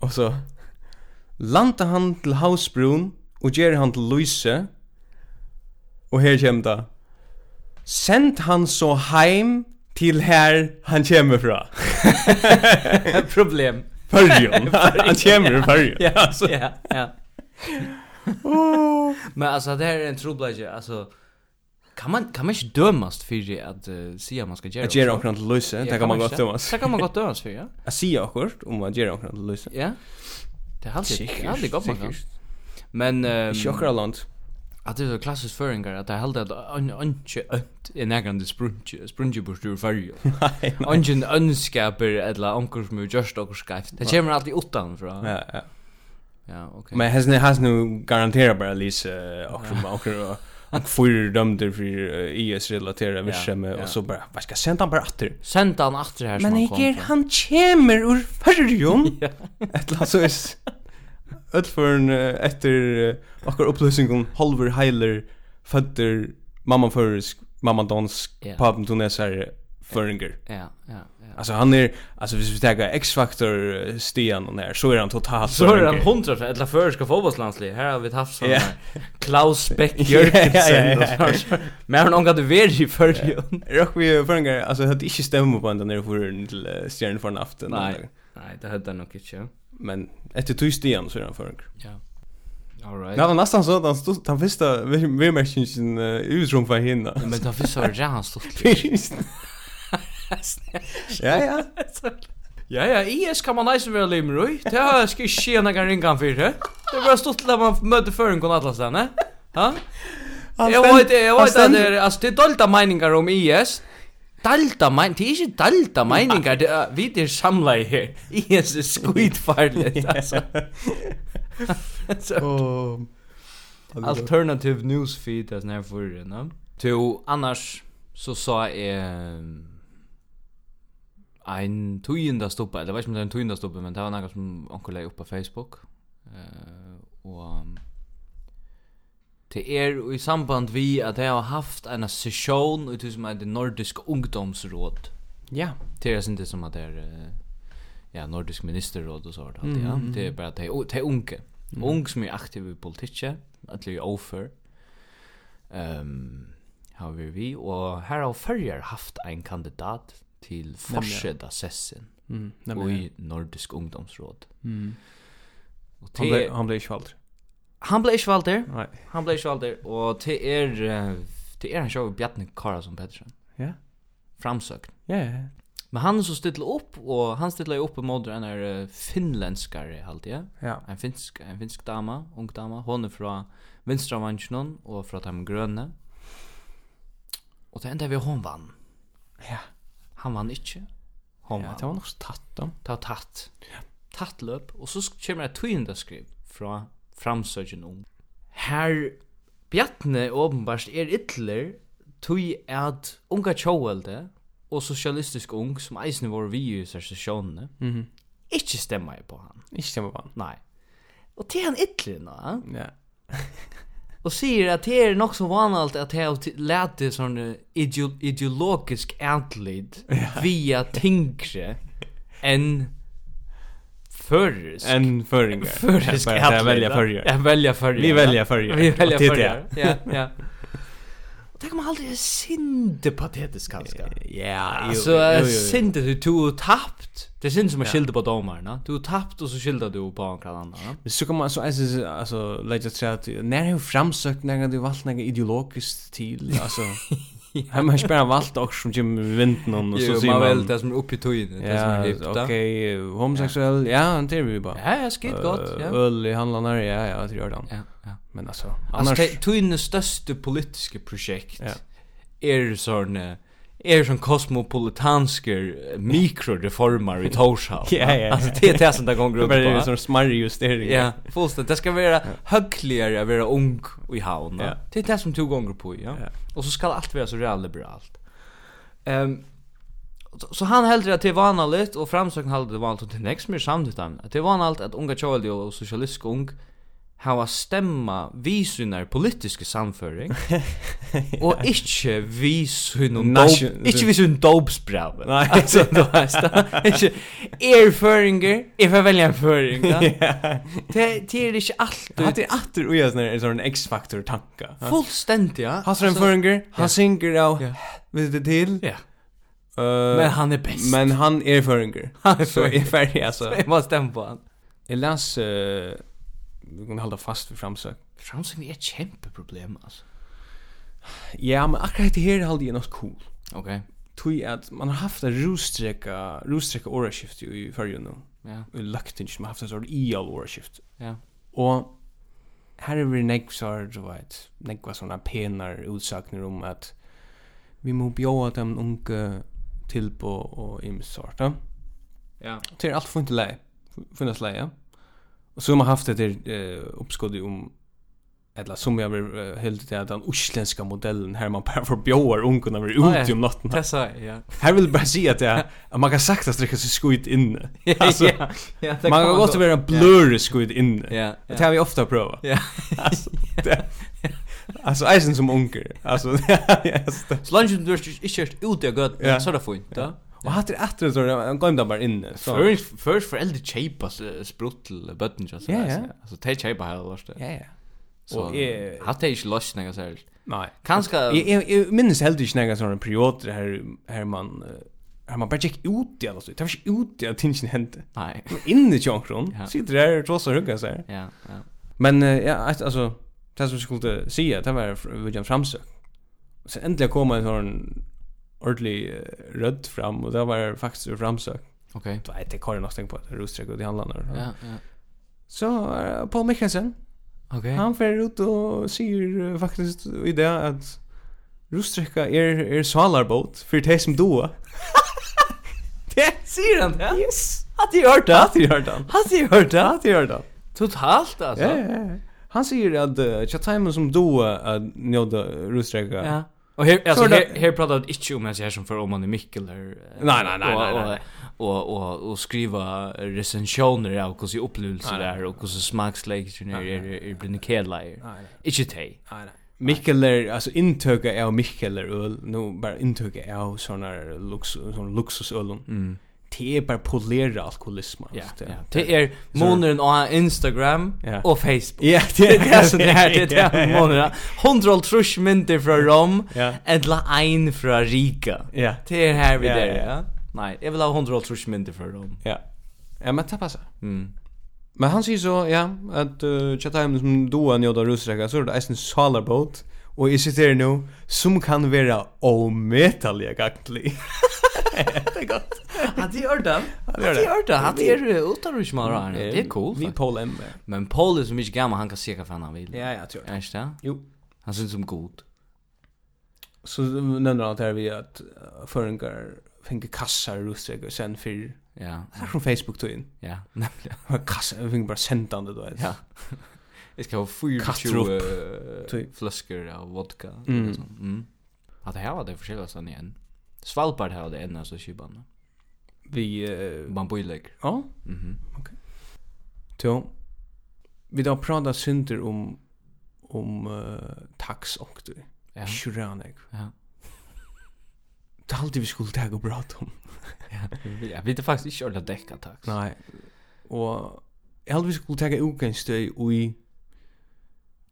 Speaker 2: og så landa han til havsbrun og gjer han til Luise, og her kjem det, send han så heim til her han kjemmer fra.
Speaker 3: Problem.
Speaker 2: Førjon, han kjemmer fra Førjon.
Speaker 3: Ja, alltså. Ja, ja.
Speaker 2: Oh.
Speaker 3: Men alltså det här är en trubbelage, alltså kan man kan man inte dömas för att uh, säga man ska göra.
Speaker 2: At gjer okkur til Luise, det kan man godt Thomas.
Speaker 3: Det kan man gott dömas för, ja.
Speaker 2: Jeg sier akkurat om at gjer okkur til Luise.
Speaker 3: Ja. Det har alltid, det har alltid gått man kan. Men ehm
Speaker 2: Ikke akkurat land.
Speaker 3: att det är så klassisk föringar att det er held att anke önt i nägrande er sprunge sprunge bort ur färg. Anken önskaper eller ankor som är just och skajft. Det kommer alltid utan från.
Speaker 2: Ja, ja.
Speaker 3: Ja, okej.
Speaker 2: Men has nu has nu garanterar bara eh, Lisa och från och och och för dömde för IS relaterade virksomhet
Speaker 3: ja.
Speaker 2: och så bara vad ska jag sända han bara åter.
Speaker 3: Send han efter här som han kom. från.
Speaker 2: han kommer ur förjon. Ett la så eh, är öll förn efter och upplösningen halver heiler fötter mamma försk mamma dansk eh,
Speaker 3: Ja.
Speaker 2: pappa tunesare föringer.
Speaker 3: Ja, ja, ja.
Speaker 2: Alltså han är alltså hvis vi tar X-faktor stian och där så är han totalt
Speaker 3: Så är han
Speaker 2: føringer.
Speaker 3: 100 för eller för ska fotbollslandslag. Här har vi haft såna
Speaker 2: Ja.
Speaker 3: Klaus Beck
Speaker 2: Ja, ja, ja, ja.
Speaker 3: Jörgensen. Men han hade varit i förrjun.
Speaker 2: Rock vi förringar alltså hade inte stämma på ända när för till stjärnan för eh, afton.
Speaker 3: Nej. Nej, det hade han nog inte.
Speaker 2: Men efter tystian så är han förrän.
Speaker 3: Ja. All right.
Speaker 2: Det var nästan så att han stod, den första vimärkningen uh, utrum för hinna.
Speaker 3: Men det finns så jävla stort.
Speaker 2: ja, ja.
Speaker 3: Ja, ja, IS kan man nice vera limmer oi. Det har skal ikke skje noen ringan for det. Det er bare stått til at man møter føren kon atlas denne. Ha? Jeg vet, jeg vet at det er, altså, det er dolda meiningar om E IS. Dalda mein, det er ikke dalda meiningar, det er, vi er samla i her. IS er skuidfarlig, altså. Så, Alternative newsfeed, det er sånn her fyrir, no? To, annars, så sa jeg, eh, ein tøyinda stoppa, eller veist om det er en tøyinda stoppa, men det var noe som onkel lei upp på Facebook. Eh og um, det er i samband vi at jeg har haft en session ut som er det nordisk ungdomsråd.
Speaker 2: Ja.
Speaker 3: Det er inte som at det er eh, ja, nordisk ministerråd og så har det alltid,
Speaker 2: Mm-hmm.
Speaker 3: ja. Det er bare at det er- det er unge. Unge som er aktive i politikket, at det er over. Ehm har vi vi, og her har Førjar haft en kandidat til forseda sessen
Speaker 2: Mm,
Speaker 3: og
Speaker 2: nämligen.
Speaker 3: i Nordisk Ungdomsråd.
Speaker 2: Mm.
Speaker 3: Og
Speaker 2: Han
Speaker 3: til,
Speaker 2: blev han blev svalt.
Speaker 3: han ble ikke valgt der,
Speaker 2: Nej.
Speaker 3: han ble ikke valgt der, og til er, eh, til er han sjå Bjarne Karasson Pettersen,
Speaker 2: Ja.
Speaker 3: framsøkt.
Speaker 2: Ja, ja.
Speaker 3: Men han som stiller opp, og han stiller opp mot en er eh, finlenskare, halte jeg.
Speaker 2: Ja.
Speaker 3: En finsk, en finsk dama, ung dama, hon er fra Vinstravansjonen og fra Tam Grønne. Og det enda vi hon vann.
Speaker 2: Ja.
Speaker 3: Han vann ikke. Hon
Speaker 2: Ja,
Speaker 3: vann.
Speaker 2: det var nog så tatt då.
Speaker 3: Det var tatt. Tatt løp, og så sk- kommer det tøyende skriv fra framsøkjen ung. Her um. Bjartne åpenbart er ytler tøy at unga tjåvelde og sosialistisk ung som eisne vår vi i sesjonene mm -hmm. ikke stemmer på han.
Speaker 2: Inte stämmer på han.
Speaker 3: Nei. Og til han ytler nå,
Speaker 2: Ja.
Speaker 3: og sier at det er nok så vanalt at det har lært sånn eh, ideo ideologisk antlid via tingre enn førisk.
Speaker 2: En förringar.
Speaker 3: Førisk
Speaker 2: Bara att välja förringar.
Speaker 3: Ja, välja förringar.
Speaker 2: Vi väljer förringar.
Speaker 3: Vi väljer
Speaker 2: Och titta.
Speaker 3: förringar. Ja, ja. Och det kan man aldrig sinde patetisk kanske.
Speaker 2: Ja,
Speaker 3: Alltså sinde du tog tappt. Det syns som att skilda på domarna. Du tappt och så skilda du på en annan. va?
Speaker 2: Men så kan man så alltså alltså lägga sig att när hur framsökt när du valt något ideologiskt till alltså Här man spelar valt också som Jim Vinton och så
Speaker 3: Jo,
Speaker 2: ser
Speaker 3: man väl
Speaker 2: man
Speaker 3: det som är uppe i tøyene, det som är
Speaker 2: Ja,
Speaker 3: hippt. da.
Speaker 2: okej, eh, homosexuell. Ja, det är vi bara.
Speaker 3: Ja, ja, skit gott.
Speaker 2: Eh,
Speaker 3: Ja.
Speaker 2: Öl i handlarna, ja, ja, det gör den.
Speaker 3: Ja, ja.
Speaker 2: Men alltså, annars...
Speaker 3: Alltså tøyene största politiska projekt
Speaker 2: Ja.
Speaker 3: är sån eh, är sån kosmopolitansker eh, mikroreformer i Torshov.
Speaker 2: Ja, ja, ja.
Speaker 3: Alltså det är det som det går
Speaker 2: Det
Speaker 3: upp
Speaker 2: bara är
Speaker 3: på.
Speaker 2: sån smarrig justering.
Speaker 3: Ja, fullständigt. Det ska vara högligare att vara ung i havn.
Speaker 2: Ja.
Speaker 3: Det är det som tog gånger på, ja.
Speaker 2: Ja.
Speaker 3: Och så ska allt vara så real liberalt. Ehm så- så han hellre att det var vanligt och framsökan hade det vanligt och det nästa mer samtidigt han. Att det var vanligt att unga tjolde och socialist ung hava stemma vi synar politiske samføring og ikkje vi synar
Speaker 2: Nation-
Speaker 3: dope ikkje vi synar dopesbrave
Speaker 2: Nei.
Speaker 3: altså du veist ikkje erføringer er for velja en føring ja det det er ikkje
Speaker 2: Hatt
Speaker 3: alltid
Speaker 2: er atter uja sånn en sånn X-faktor tanka.
Speaker 3: fullstendig ja
Speaker 2: Han ser en
Speaker 3: Altså,
Speaker 2: føringer, han synger av
Speaker 3: Ja.
Speaker 2: Vet du til?
Speaker 3: ja
Speaker 2: Eh,
Speaker 3: men han er best
Speaker 2: Men han er føringer.
Speaker 3: Han er
Speaker 2: Så er
Speaker 3: føringer.
Speaker 2: ferdig, altså.
Speaker 3: jeg må stemme på han
Speaker 2: Jeg las, eh, vi kan halda fast for framsøk.
Speaker 3: framsyn er et kjempeproblem altså
Speaker 2: Ja, men akkurat det her halde jeg nok cool.
Speaker 3: ok
Speaker 2: Tui at man har haft en rostrekka, rostrekka åraskift i fyrju nu.
Speaker 3: ja
Speaker 2: I løkting som har haft en sånn ial åraskift.
Speaker 3: ja
Speaker 2: Og her er vi negv svar, du vet, negva sånne penar utsakner om at vi må bjóa dem unge tilbå og imsort, ja.
Speaker 3: ja
Speaker 2: Det er alt funnet lei, funnet lei, ja. Og så har man haft etter uh, oppskuddet om eller som jeg vil uh, helt til at den uslenska modellen her man bare får bjóar ungen og er
Speaker 3: Ah, ja.
Speaker 2: ute om natten.
Speaker 3: det sa jeg ja
Speaker 2: Her vil jeg bare si at, jeg, at man kan sakta strikka seg skuit inne. Altså,
Speaker 3: ja, ja, det
Speaker 2: Man kan godt
Speaker 3: så-
Speaker 2: være blurry skuit inne.
Speaker 3: Ja,
Speaker 2: Det har vi ofta provat.
Speaker 3: Ja.
Speaker 2: Alltså, det- Alltså eisen som unger. Alltså ja, alltså, det-
Speaker 3: Så lenge som du er ikke- ikke er ute av gøten,
Speaker 2: Ja.
Speaker 3: så er det fint, da.
Speaker 2: Och hatter efter så han går bara inne så.
Speaker 3: Først foreldre kjeipa sprutt til bøtten, ikke
Speaker 2: Ja, ja.
Speaker 3: Altså, de kjeipa her, Lars, det. er.
Speaker 2: Ja ja.
Speaker 3: Så
Speaker 2: Og jeg-
Speaker 3: hatt er ikke løsning, jeg sier.
Speaker 2: Nej. Er-
Speaker 3: Kanskje...
Speaker 2: Jag jag minns helt inte några såna perioder här här man eh, Han man bara gick ut i alla så. Det var inte ut i att tingen hände.
Speaker 3: Nej.
Speaker 2: Inne i Jonkron.
Speaker 3: Ja.
Speaker 2: Sitter där och trossar hugga så här.
Speaker 3: Ja, ja.
Speaker 2: Men eh, ja, att- alltså det som jag skulle säga, det var fr- William Framsök. Och sen äntligen kom en sån ordentlig eh, rödd fram och det var faktiskt ur Framsök.
Speaker 3: Okej.
Speaker 2: Det er var ett kvar något tänkt på att Rosträck och de handlarna.
Speaker 3: Ja, ja.
Speaker 2: Så eh, Paul Mikkelsen,
Speaker 3: Okej.
Speaker 2: han fer ut och säger eh, faktiskt i det att Rosträcka är är salarbåt för det som då. Det säger han det? Yes. Har du hört det? Har du hört det?
Speaker 3: Har du hört det?
Speaker 2: Har du hört Eh, det?
Speaker 3: Totalt alltså.
Speaker 2: Ja, ja, ja. Han säger att uh, Chatham som då att uh, njöda rusträcka.
Speaker 3: Ja. Och här alltså
Speaker 2: Så det-
Speaker 3: här, här pratar det inte om att jag som för om man är Mikkel eh, eller
Speaker 2: Nej, nej, nej, nej, nej.
Speaker 3: och och och, och skriva recensioner av hur sig upplevelser
Speaker 2: Nej, nej.
Speaker 3: där och hur smaksläget är
Speaker 2: Nej,
Speaker 3: är är blir kedlar.
Speaker 2: Nej,
Speaker 3: Inte te.
Speaker 2: nej, nej. Mikkeler, alltså intöka er, av Mikkeler öl, nu bara intöka av såna här lux, sån luxusöl.
Speaker 3: Mm.
Speaker 2: Det är er bara polera alkoholism.
Speaker 3: Ja,
Speaker 2: alltså,
Speaker 3: ja.
Speaker 2: det-
Speaker 3: Det är månaden av Instagram
Speaker 2: Ja.
Speaker 3: och Facebook.
Speaker 2: Ja,
Speaker 3: Det er-
Speaker 2: er
Speaker 3: är det som det är, det er
Speaker 2: Ja,
Speaker 3: är det
Speaker 2: ja,
Speaker 3: här månaden. Hundra trusch mynter från Rom,
Speaker 2: Ja.
Speaker 3: eller en från Rika.
Speaker 2: Ja,
Speaker 3: Det är er här vi
Speaker 2: Ja,
Speaker 3: där,
Speaker 2: ja.
Speaker 3: ja. Nej, jag vill ha hundra trusch mynter från Rom.
Speaker 2: ja. Ja, men det passar.
Speaker 3: Mm.
Speaker 2: Men han säger så, ja, att uh, Chatham som då han njöda rusträcka så är det en salarbåt. Och jag sitter nu, som kan vara omätaliga gaktlig.
Speaker 3: Har du hört den? Har
Speaker 2: gjør
Speaker 3: du
Speaker 2: det.
Speaker 3: hört den? Har du hört den? Har du Det är cool.
Speaker 2: Vi
Speaker 3: faktisk.
Speaker 2: er Paul M.
Speaker 3: Men Paul är så mycket gammal, han kan se vad fan han vill.
Speaker 2: Ja, ja, tror
Speaker 3: Är det det?
Speaker 2: Jo.
Speaker 3: Han syns som god.
Speaker 2: Så nämner han att här vi att eh, förengar fick kassar rusträcker sen er för
Speaker 3: Ja,
Speaker 2: här från Facebook tog in.
Speaker 3: ja.
Speaker 2: Kassar fick bara sändande då.
Speaker 3: Ja. Jag ska ha 24
Speaker 2: Kastrup.
Speaker 3: eh,
Speaker 2: Ty.
Speaker 3: flaskor av vodka.
Speaker 2: Mm.
Speaker 3: och sånt. Mm. Ja, det här var det förskilda sen igen. Svalbard här var det ena så kybarna.
Speaker 2: Vi eh,
Speaker 3: Bambuilägg.
Speaker 2: ja,
Speaker 3: Mhm.
Speaker 2: så vi då pratar synder om om um, uh, tax och du.
Speaker 3: Ja.
Speaker 2: Shuranek.
Speaker 3: Ja.
Speaker 2: Det är alltid vi skulle ta och prata um. om.
Speaker 3: Ja, vi det faktiskt inte ordla däcka tax.
Speaker 2: Nei. Og jeg heldig vi skulle tega utgangsstøy ui...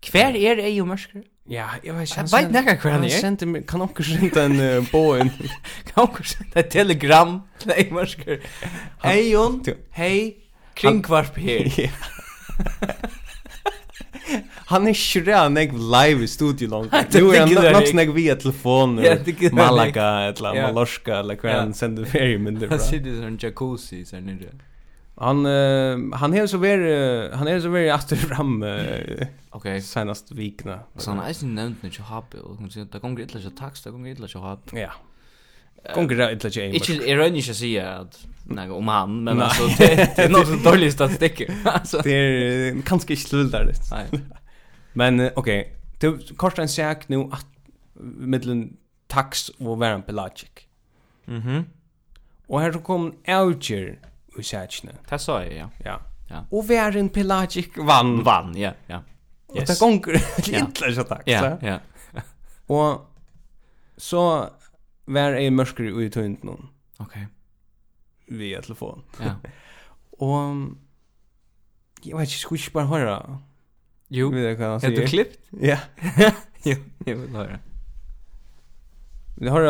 Speaker 3: Kvar är det ju mörker?
Speaker 2: Ja, jeg vet ikke...
Speaker 3: Jeg vet nekka hver han er.
Speaker 2: sendte meg... Kan okker sendte en uh, båen?
Speaker 3: Kan också sända ett telegram till dig mörker. Hej Jon. Hej. Kringkvarp här.
Speaker 2: Ja. Han er ikke rea nek live i studio langt.
Speaker 3: Nei, det
Speaker 2: Nu er han
Speaker 3: tykker jeg
Speaker 2: nok
Speaker 3: ikke.
Speaker 2: nek via telefon
Speaker 3: Ja,
Speaker 2: ur
Speaker 3: det tykker jeg
Speaker 2: Malaga, eller
Speaker 3: Ja.
Speaker 2: Mallorca, eller hver
Speaker 3: Ja.
Speaker 2: han sender ferie mindre bra.
Speaker 3: Han sitter i sån jacuzzi så här nere.
Speaker 2: Han, eh, han er så veri, han er så veri aftur fram eh,
Speaker 3: Okej.
Speaker 2: senast vikna.
Speaker 3: Så han har inte nämnt när jag har och hon säger att det kommer inte att tax, det kommer inte att ha.
Speaker 2: Ja. Konkurra illa tjej.
Speaker 3: Inte ironiskt att säga att nej om han men
Speaker 2: Nej.
Speaker 3: alltså det, det är något så dåligt statistik. Alltså
Speaker 2: Det är eh, kanske inte slulldarligt.
Speaker 3: nej.
Speaker 2: Men eh, okej, okay. du kostar en säk nu att mellan tax och värn pelagic.
Speaker 3: Mhm.
Speaker 2: Och här så kom Alger i säkna.
Speaker 3: Det sa jag ja.
Speaker 2: Ja.
Speaker 3: Ja.
Speaker 2: Och värn pelagic vann.
Speaker 3: Vann ja, ja.
Speaker 2: Och det gånger inte så tack.
Speaker 3: Ja, ja.
Speaker 2: Och så var är mörker i tunt någon
Speaker 3: Okej.
Speaker 2: via telefon.
Speaker 3: Ja.
Speaker 2: Och um, jag vet inte, skulle jag bara höra.
Speaker 3: Jo.
Speaker 2: Vet du vad han
Speaker 3: Har du
Speaker 2: säger?
Speaker 3: klippt?
Speaker 2: Ja.
Speaker 3: Jo, jag vill höra.
Speaker 2: Vi har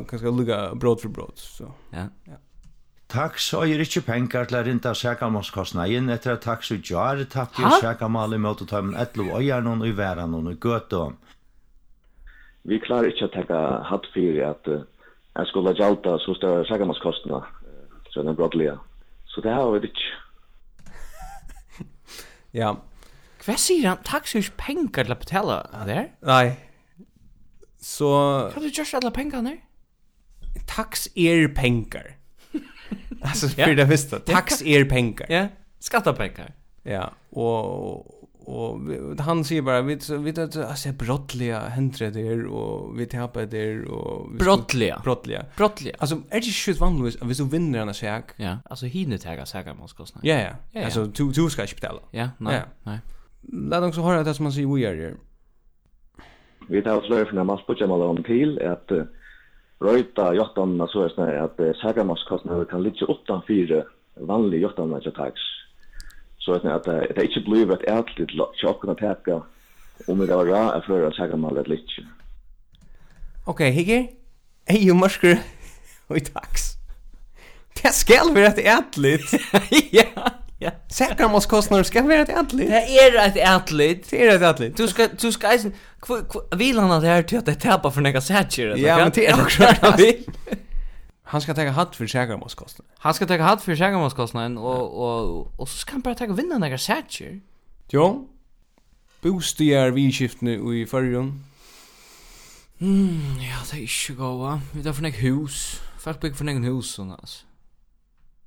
Speaker 2: ganska lugga brot för brot så.
Speaker 3: Ja.
Speaker 7: Tax eier ikkje pengar til å rinda sækamalskostnægin etter at tax og jar tappte jo
Speaker 3: Ha?
Speaker 7: sækamali mot å ta med etlo eier noen i væran noen i gøtå.
Speaker 8: vi klarar inte att ta hatt för att uh, jag skulle jalta så stora sagamanskostnader uh, så den broadliga. Så det här har vi inte.
Speaker 2: Ja.
Speaker 3: Vad säger han? Tack så mycket pengar till att betala. Där.
Speaker 2: Nei. Så
Speaker 3: Kan du just alla pengarna där?
Speaker 2: tax er pengar. alltså
Speaker 3: Ja.
Speaker 2: för det första, tax er pengar.
Speaker 3: Ja. Skattepengar.
Speaker 2: Ja, och och vi- han säger bara vi vi vet att alltså brottliga händer där och vi tappar där och vi
Speaker 3: Brottliga.
Speaker 2: brottliga.
Speaker 3: Brottliga.
Speaker 2: Alltså är det shit vanligt om vi så vinner den här sak?
Speaker 3: Ja. Alltså hinner täga säkerhetskostnader.
Speaker 2: Ja, ja.
Speaker 3: ja.
Speaker 2: Alltså du du ska inte betala.
Speaker 3: Ja, nej.
Speaker 2: Ja.
Speaker 3: Nej.
Speaker 2: Låt oss höra det som man säger we are here.
Speaker 8: Vi tar flera från en massa budgetmål om till att uh, röjta jottarna så är snarare att uh, sagamanskostnader kan ligga utan fyra vanliga jottarna till tax. Så att att eh, det inte blir ett ärligt tjock kunna täcka om det var bra att föra sagamanlet lite.
Speaker 2: Okej, okay, Higger. Hej, ju morskor. Och tax. Det skal være et ætligt.
Speaker 3: ja, ja.
Speaker 2: Sækramåskostnader skal være et ætligt.
Speaker 3: Det er et atlet.
Speaker 2: Det er et ætligt.
Speaker 3: Du skal du ska eisen kv- kv- vil han at det her til at det tapar for nega satcher. eller
Speaker 2: Ja,
Speaker 3: hva?
Speaker 2: men det er
Speaker 3: akkurat han vil.
Speaker 2: Han skal taka hatt for sækramåskostnader.
Speaker 3: Han skal taka hatt for sjangamanskostnaden og og og så skal han bare taka vinna nega satcher.
Speaker 2: Jo. Bostier vidskiftene i fyrrjun.
Speaker 3: Ja, det er ikke goa. Vi tar for nega hus. Folk bygger for nega hus sånn altså.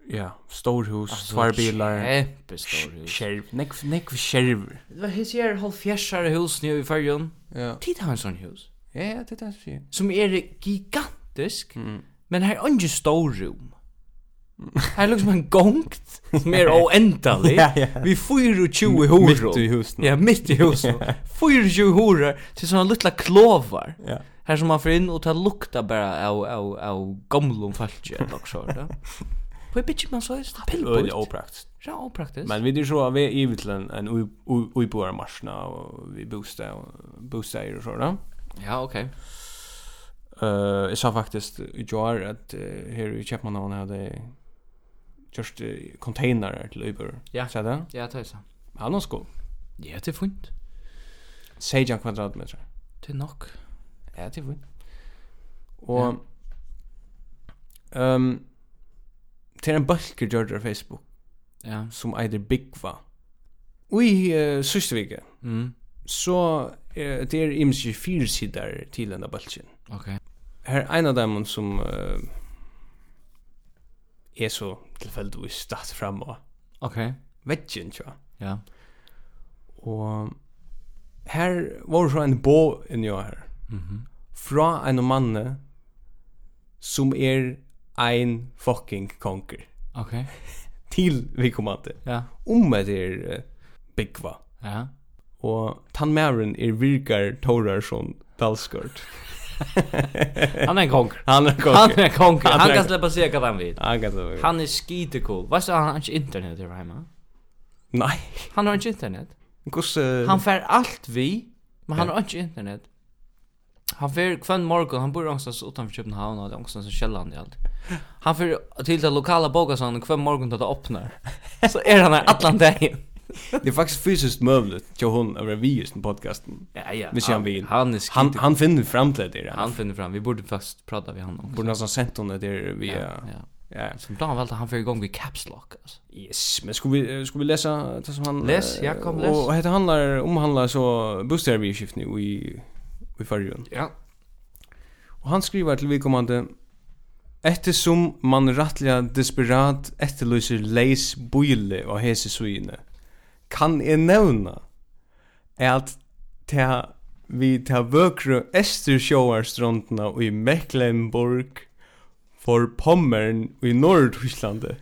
Speaker 2: Ja, storhus,
Speaker 3: er
Speaker 2: tvarbilar.
Speaker 3: Kjempestor hus.
Speaker 2: Skjerv. Nekv, nekv skjerv.
Speaker 3: Det var his her halvfjersare hus nye i fyrjon.
Speaker 2: Ja.
Speaker 3: Tid har en sånn hus.
Speaker 2: Ja, ja, det er det jeg
Speaker 3: Som er gigantisk. Men her er ikke stor rom. Her er liksom en gongt som er oendelig.
Speaker 2: Ja, ja.
Speaker 3: Vi fyrer 20 horor.
Speaker 2: Midt i husen.
Speaker 3: Ja, midt i husen. Fyrer 20 horor til sånne lilla klovar.
Speaker 2: Ja.
Speaker 3: Her som man får inn og det lukta bara av, av, av gamlum falskje eller så. På i bitch man så er det
Speaker 2: Øyla
Speaker 3: pillbult.
Speaker 2: opraktisk.
Speaker 3: Ja, opraktisk.
Speaker 2: Men vi er så av vi er ivet til en, en ui- ui- uiboarmarsna og vi bostad og bostad og sånn.
Speaker 3: Ja, ok.
Speaker 2: Uh, jeg sa faktisk i går at uh, her i Kjepmanhavn hadde just uh, containere til Uibor.
Speaker 3: Ja.
Speaker 2: Sa det?
Speaker 3: Ja, det er sant.
Speaker 2: Han har sko.
Speaker 3: Ja, det er fint.
Speaker 2: 16 kvadratmeter.
Speaker 3: Det er nok.
Speaker 2: Ja, det er fint. Og ja. um, til en balker gjør det Facebook
Speaker 3: Ja.
Speaker 2: som eider Bigva. Ui, uh, sørste vike,
Speaker 3: Mm.
Speaker 2: så uh, det er imensje fire sider til denne balken.
Speaker 3: Ok.
Speaker 2: Her er en av dem som uh, er så tilfeldigvis statt fram og
Speaker 3: Ok.
Speaker 2: veggen, tja.
Speaker 3: Ja.
Speaker 2: Og her var så en bå inni og her. Fra en manne som er ein fucking konger
Speaker 3: Ok.
Speaker 2: til vi kom at det.
Speaker 3: Ja.
Speaker 2: Om det er uh, byggva.
Speaker 3: Ja.
Speaker 2: Og tannmæren er virkar Torarsson Dalsgård.
Speaker 3: Han er en kong.
Speaker 2: Han er
Speaker 3: Han
Speaker 2: konger.
Speaker 3: er en kong.
Speaker 2: Han er
Speaker 3: Han kan
Speaker 2: en-
Speaker 3: släppa sig vad han vill.
Speaker 2: Han er- kan det være.
Speaker 3: Han är skitecool. Vad sa han? Han har inte internet här hemma.
Speaker 2: Nei.
Speaker 3: Han har inte internet.
Speaker 2: Hvordan... eh,
Speaker 3: Han får allt vi, men han har inte internet. Han får kvann morgon, han bor någonstans utanför Köpenhamn och någonstans i Källan i allt. Han får till den lokala bokasan kvann morgon då det öppnar. Så är han här allan dagen.
Speaker 2: Det är faktiskt fysiskt möjligt till hon över vi just den podcasten.
Speaker 3: Ja, ja.
Speaker 2: Hvis han vil.
Speaker 3: Han är
Speaker 2: Han,
Speaker 3: skitecool.
Speaker 2: han finner fram till det. Han
Speaker 3: Han finner fram. Vi borde faktiskt prata med honom.
Speaker 2: borde nästan sent hon det där via...
Speaker 3: Ja.
Speaker 2: Ja.
Speaker 3: Som plan valde han för igång vid caps lock alltså.
Speaker 2: Yes, men ska vi, eh, ska vi läsa det som han... eh,
Speaker 3: Läs, ja, kom, läs.
Speaker 2: Och det handlar, omhandlar så bostäder vi i skift nu i, i förrjun.
Speaker 3: Ja.
Speaker 2: Och han skriver till vidkommande Eftersom man rattliga desperat efterlyser leis bojle og hese suyne, kan jeg nevna at ta vi ta vøkru Estersjåarstrondna i Mecklenburg for Pommern i Nordtysklandet.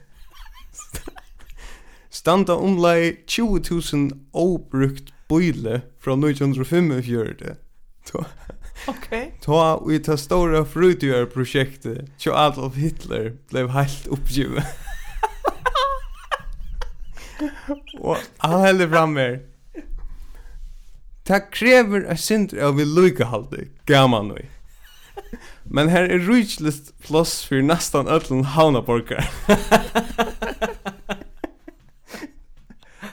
Speaker 2: Standa omlai 20.000 obrukt bojle fra 1945. Då-
Speaker 3: Okej.
Speaker 2: Ta i ta stora frutgörprojektet Tjo Adolf Hitler blev helt uppgiven Och han hällde fram mer Ta kräver är synder av vi lukahallde Gaman vi Men er här är rujtlist plås för nästan ötlen haunaborgar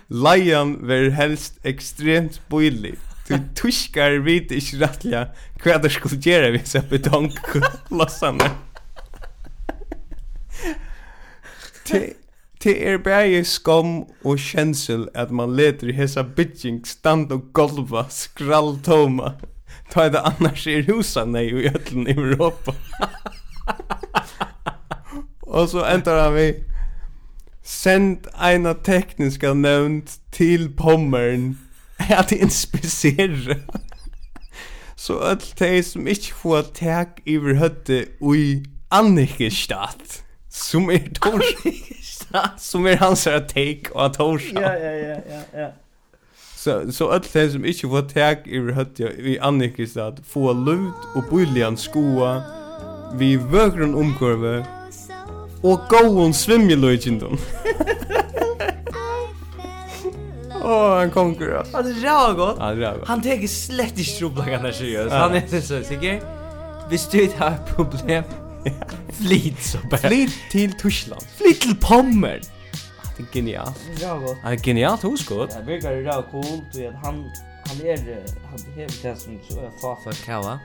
Speaker 2: Lajan ver helst ekstremt boilig. Du tuskar vit ikkje rattliga hva der skulle gjere vi seg betongklossane. Det Det er bægi skom og kjensel at man leter i hesa bygging stand og golva skrall toma. Ta det annars er husa nei i ötlen i Europa. og så endar han vi Send eina tekniska nevnt til pommeren at inspisere. Så öll tei som ikkje få tak iver høtte ui Annikestad, som er tors... som er hans her take og torsa. Ja, ja, ja, ja, Så, så öll tei som ikkje få tak iver høtte i Annikestad, få lut og byljan skoa vi vøkron omkurve
Speaker 1: so
Speaker 2: og gåon svimjeløytjindom.
Speaker 1: I fell in love.
Speaker 2: Åh, han konkur, ass.
Speaker 3: Han är så gott.
Speaker 2: Ja, det er godt.
Speaker 3: Han teker er slett ikke troblagan der seriøst. Han er så sikker. Hvis du ikke har et problem Flit så bara.
Speaker 2: Flyt til Tyskland.
Speaker 3: Flit till Pommern.
Speaker 2: Det er genialt.
Speaker 3: Ja, gott.
Speaker 2: Det er genialt husgått.
Speaker 3: Det virkar ju rätt coolt och att han han är eh, han behöver det som så är far för Kawa.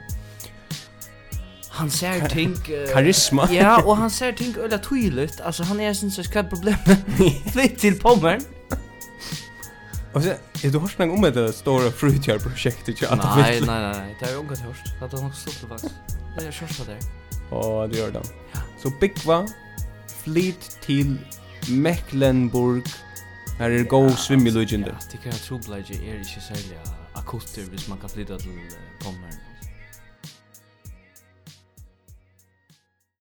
Speaker 3: Han ser ting eh,
Speaker 2: Karisma.
Speaker 3: Ja, och han ser ting ölla tydligt. Alltså han er är syns så ska problem. Flit till Pommern.
Speaker 2: Og så, er du hørt noe om dette store frutjærprosjektet til Adam
Speaker 3: Nej, nej,
Speaker 2: Wittler?
Speaker 3: nej, nej. Det er är ju ungat hörst. Det har nog stått det faktiskt. Det er är kört där.
Speaker 2: Og du gjør det. Så Bigva, flyt til Mecklenburg. Her er god svimmelugende.
Speaker 3: Ja, det kan jag tro blir ju är inte särskilt akutter hvis man kan flytta till eh, Pommern.